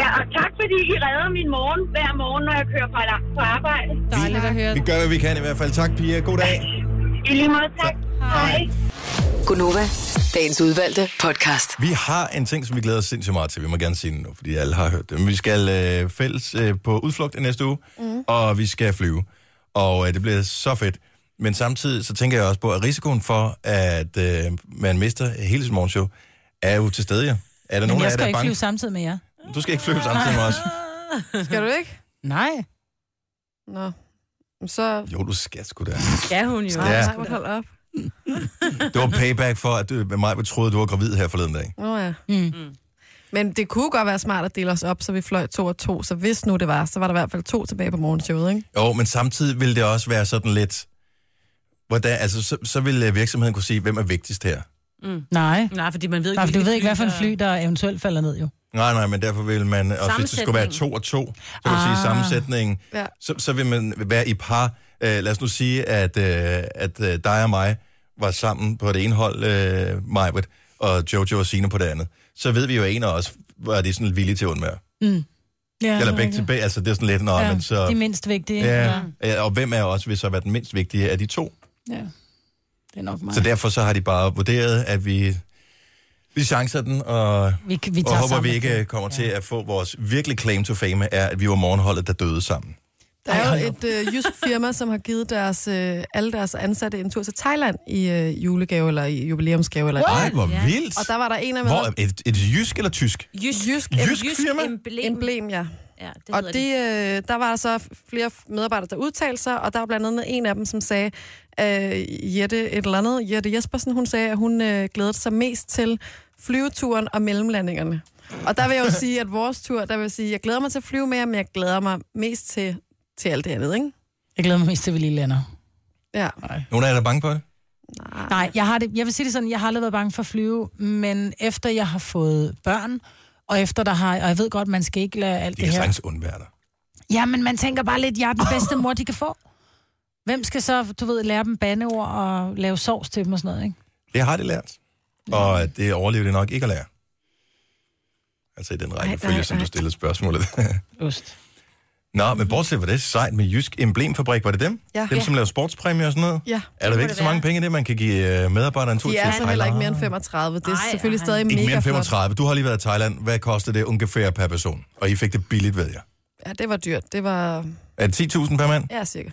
Speaker 7: Ja, og tak fordi I redder min morgen hver morgen, når jeg kører på, på arbejde.
Speaker 4: Dejligt at høre.
Speaker 1: Vi gør, hvad vi kan i hvert fald. Tak, Pia. God dag.
Speaker 7: I lige måde, tak. Hej.
Speaker 6: Gunova, dagens udvalgte podcast.
Speaker 1: Vi har en ting, som vi glæder os sindssygt meget til. Vi må gerne sige den nu, fordi alle har hørt det. Men vi skal øh, fælles øh, på udflugt i næste uge, mm. og vi skal flyve. Og øh, det bliver så fedt. Men samtidig så tænker jeg også på, at risikoen for, at øh, man mister hele sit morgenshow, er jo til stede, ja. Er der
Speaker 4: Men
Speaker 1: nogen af
Speaker 4: jeg
Speaker 1: jer, der
Speaker 4: skal
Speaker 1: er
Speaker 4: ikke
Speaker 1: bange?
Speaker 4: flyve samtidig med jer.
Speaker 1: Du skal ikke flyve samtidig med os.
Speaker 3: Skal du ikke?
Speaker 4: Nej.
Speaker 3: Nå. Men Så...
Speaker 1: Jo, du skal sgu da.
Speaker 2: Skal hun jo.
Speaker 1: Ja.
Speaker 3: Nej, hold op.
Speaker 1: Det var payback for, at du, mig troede, du var gravid her forleden dag.
Speaker 3: Nå ja. Mm. Men det kunne godt være smart at dele os op, så vi fløj to og to. Så hvis nu det var, så var der i hvert fald to tilbage på morgenshowet, ikke?
Speaker 1: Jo, men samtidig vil det også være sådan lidt... Hvordan, altså, så, så vil øh, virksomheden kunne sige, hvem er vigtigst her.
Speaker 2: Mm.
Speaker 4: Nej.
Speaker 2: Nej, fordi man ved ikke,
Speaker 4: Nej, for du
Speaker 2: hvilke
Speaker 4: ved ikke, hvad for en
Speaker 2: der-
Speaker 4: fly, der eventuelt falder ned, jo.
Speaker 1: Nej, nej, men derfor vil man... Og hvis det skulle være to og to, så kan ah. sige
Speaker 4: Ah.
Speaker 1: sammensætningen.
Speaker 3: Ja.
Speaker 1: Så, så vil man være i par. Øh, lad os nu sige, at, øh, at øh, dig og mig var sammen på det ene hold, øh, Majbrit, og Jojo og Sine på det andet. Så ved vi jo, at en af os var de sådan villige til at undvære.
Speaker 4: Mm. Ja,
Speaker 1: Eller begge tilbage, altså det er sådan lidt... Nå, ja, men så,
Speaker 4: De mindst vigtige.
Speaker 1: ja. ja. Og hvem af os vil så være den mindst vigtige af de to?
Speaker 4: ja. Det er nok mig.
Speaker 1: Så derfor så har de bare vurderet, at vi, vi chancer den, og,
Speaker 4: Vi- vi
Speaker 1: og
Speaker 4: tager
Speaker 1: håber,
Speaker 4: sammen.
Speaker 1: vi ikke kommer til at få vores virkelig claim to fame, er, at vi var morgenholdet, der døde sammen.
Speaker 3: Der er jo et øh, jysk firma, som har givet deres, øh, alle deres ansatte en tur til Thailand i øh, julegave eller i jubilæumsgave. Eller
Speaker 1: Ej, hvor Ja. vildt.
Speaker 3: Og der var der en af
Speaker 1: Hvor, et, et jysk eller tysk?
Speaker 2: Jysk,
Speaker 3: jysk,
Speaker 1: Jysk jysk firma?
Speaker 3: emblem. emblem ja.
Speaker 2: ja
Speaker 3: det og det, øh, der var så flere medarbejdere, der udtalte sig, og der var blandt andet en af dem, som sagde, øh, Jette et eller andet, Jette Jespersen, hun sagde, at hun øh, glædede sig mest til flyveturen og mellemlandingerne. Og der vil jeg jo sige, at vores tur, der vil jeg sige, jeg glæder mig til at flyve mere, men jeg glæder mig mest til, til alt det andet, ikke?
Speaker 4: Jeg glæder mig mest til, at vi lige lander.
Speaker 3: Ja.
Speaker 1: Nogle af jer der er bange på det?
Speaker 4: Nej, jeg, har det, jeg vil sige det sådan, jeg har aldrig været bange for at flyve, men efter jeg har fået børn, og efter der har, og jeg ved godt, man skal ikke lade alt
Speaker 1: De
Speaker 4: det,
Speaker 1: kan
Speaker 4: her.
Speaker 1: sagtens undvære dig.
Speaker 4: Ja, men man tænker bare lidt, jeg er den bedste mor, de kan få. Hvem skal så, du ved, lære dem bandeord og lave sovs til dem og sådan noget, ikke?
Speaker 1: Det har de lært. Og det overlever de nok ikke at lære. Altså i den rækkefølge, som du stillede spørgsmålet.
Speaker 4: Ost.
Speaker 1: Nå, men bortset fra det, sejt med Jysk Emblemfabrik, var det dem?
Speaker 3: Ja.
Speaker 1: Dem,
Speaker 3: Ja.
Speaker 1: som laver sportspræmier og sådan noget?
Speaker 3: Ja.
Speaker 1: Er der virkelig så mange penge i det, man kan give øh, medarbejderne en tur
Speaker 3: De
Speaker 1: til?
Speaker 3: er altså heller
Speaker 1: Thailand?
Speaker 3: ikke mere end 35. Det er selvfølgelig stadig mega
Speaker 1: Ikke mere end
Speaker 3: flot.
Speaker 1: 35. Du har lige været i Thailand. Hvad kostede det ungefær per person? Og I fik det billigt, ved jeg.
Speaker 3: Ja, det var dyrt. Det var...
Speaker 1: Er det 10.000 per mand?
Speaker 3: Ja, cirka.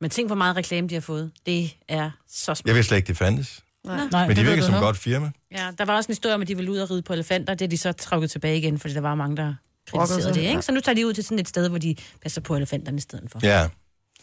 Speaker 2: Men tænk, hvor meget reklame de har fået. Det er så smukt.
Speaker 1: Jeg vidste slet ikke, det fandtes.
Speaker 2: Nej.
Speaker 1: Nej, Men de virker som et godt firma.
Speaker 2: Ja, der var også en historie om, at de ville ud og ride på elefanter. Det er de så trukket tilbage igen, fordi der var mange, der
Speaker 3: Brokkede
Speaker 2: kritiserede
Speaker 3: sig.
Speaker 2: det.
Speaker 3: Ja.
Speaker 2: Ikke? Så nu tager de ud til sådan et sted, hvor de passer på elefanterne i stedet for.
Speaker 1: Ja.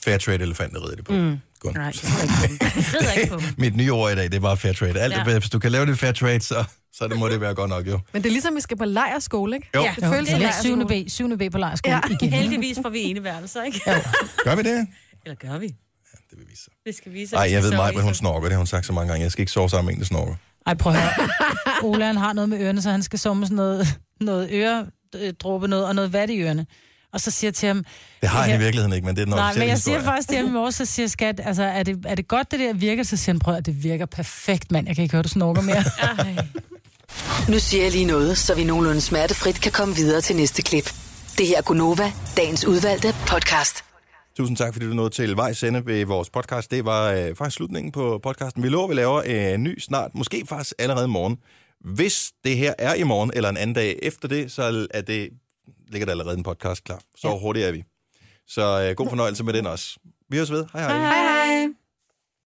Speaker 1: Fairtrade elefanter rider det på. Mm. Godt.
Speaker 2: Nej, jeg rider ikke på dem. Jeg rider ikke på dem.
Speaker 1: Mit nye ord i dag, det var fairtrade. Alt,
Speaker 3: Ja.
Speaker 1: ja. Hvis du kan lave det fairtrade, så, så det må det være godt nok, jo.
Speaker 3: Men det er ligesom, vi skal på lejerskole, ikke?
Speaker 1: Jo.
Speaker 3: Det
Speaker 1: Jo,
Speaker 3: føles
Speaker 4: det er
Speaker 3: som
Speaker 4: syvende
Speaker 3: lejerskole.
Speaker 4: B, 7. B på lejerskole
Speaker 2: Ja.
Speaker 4: ja. igen.
Speaker 2: Heldigvis får vi ene værelser, ikke? Ja.
Speaker 1: Gør vi det?
Speaker 2: Eller gør vi? Ja, det vil vise sig. Det skal vise sig.
Speaker 1: Nej,
Speaker 2: hvis
Speaker 1: jeg
Speaker 2: vi
Speaker 1: ved
Speaker 2: sover
Speaker 1: mig,
Speaker 2: i
Speaker 1: men hun
Speaker 2: så-
Speaker 1: snorker. Det har hun sagt så mange gange. Jeg skal ikke sove sammen med en, der snorker.
Speaker 4: Ej, prøv at høre. Ola, han har noget med ørerne, så han skal summe sådan noget, noget øredråbe noget, og noget vat i ørerne. Og så siger jeg til ham...
Speaker 1: Det har han i
Speaker 4: her-
Speaker 1: virkeligheden ikke, men det er den
Speaker 4: Nej, men
Speaker 1: officielle
Speaker 4: jeg siger
Speaker 1: historie.
Speaker 4: faktisk til ham i morges, så siger jeg, skat, altså, er det, er det godt, det der virker? Så siger han, prøv at høre, det virker perfekt, mand. Jeg kan ikke høre, du snorker mere.
Speaker 6: Nu siger jeg lige noget, så vi nogenlunde smertefrit kan komme videre til næste klip. Det her er Gunova, dagens udvalgte podcast.
Speaker 1: Tusind tak, fordi du nåede til vejs ende ved vores podcast. Det var øh, faktisk slutningen på podcasten. Vi lover, at vi laver øh, en ny snart, måske faktisk allerede i morgen. Hvis det her er i morgen, eller en anden dag efter det, så er det, ligger der allerede en podcast klar. Så ja. hurtigt er vi. Så øh, god fornøjelse med den også. Vi høres ved. Hej hej.
Speaker 3: Hej, hej.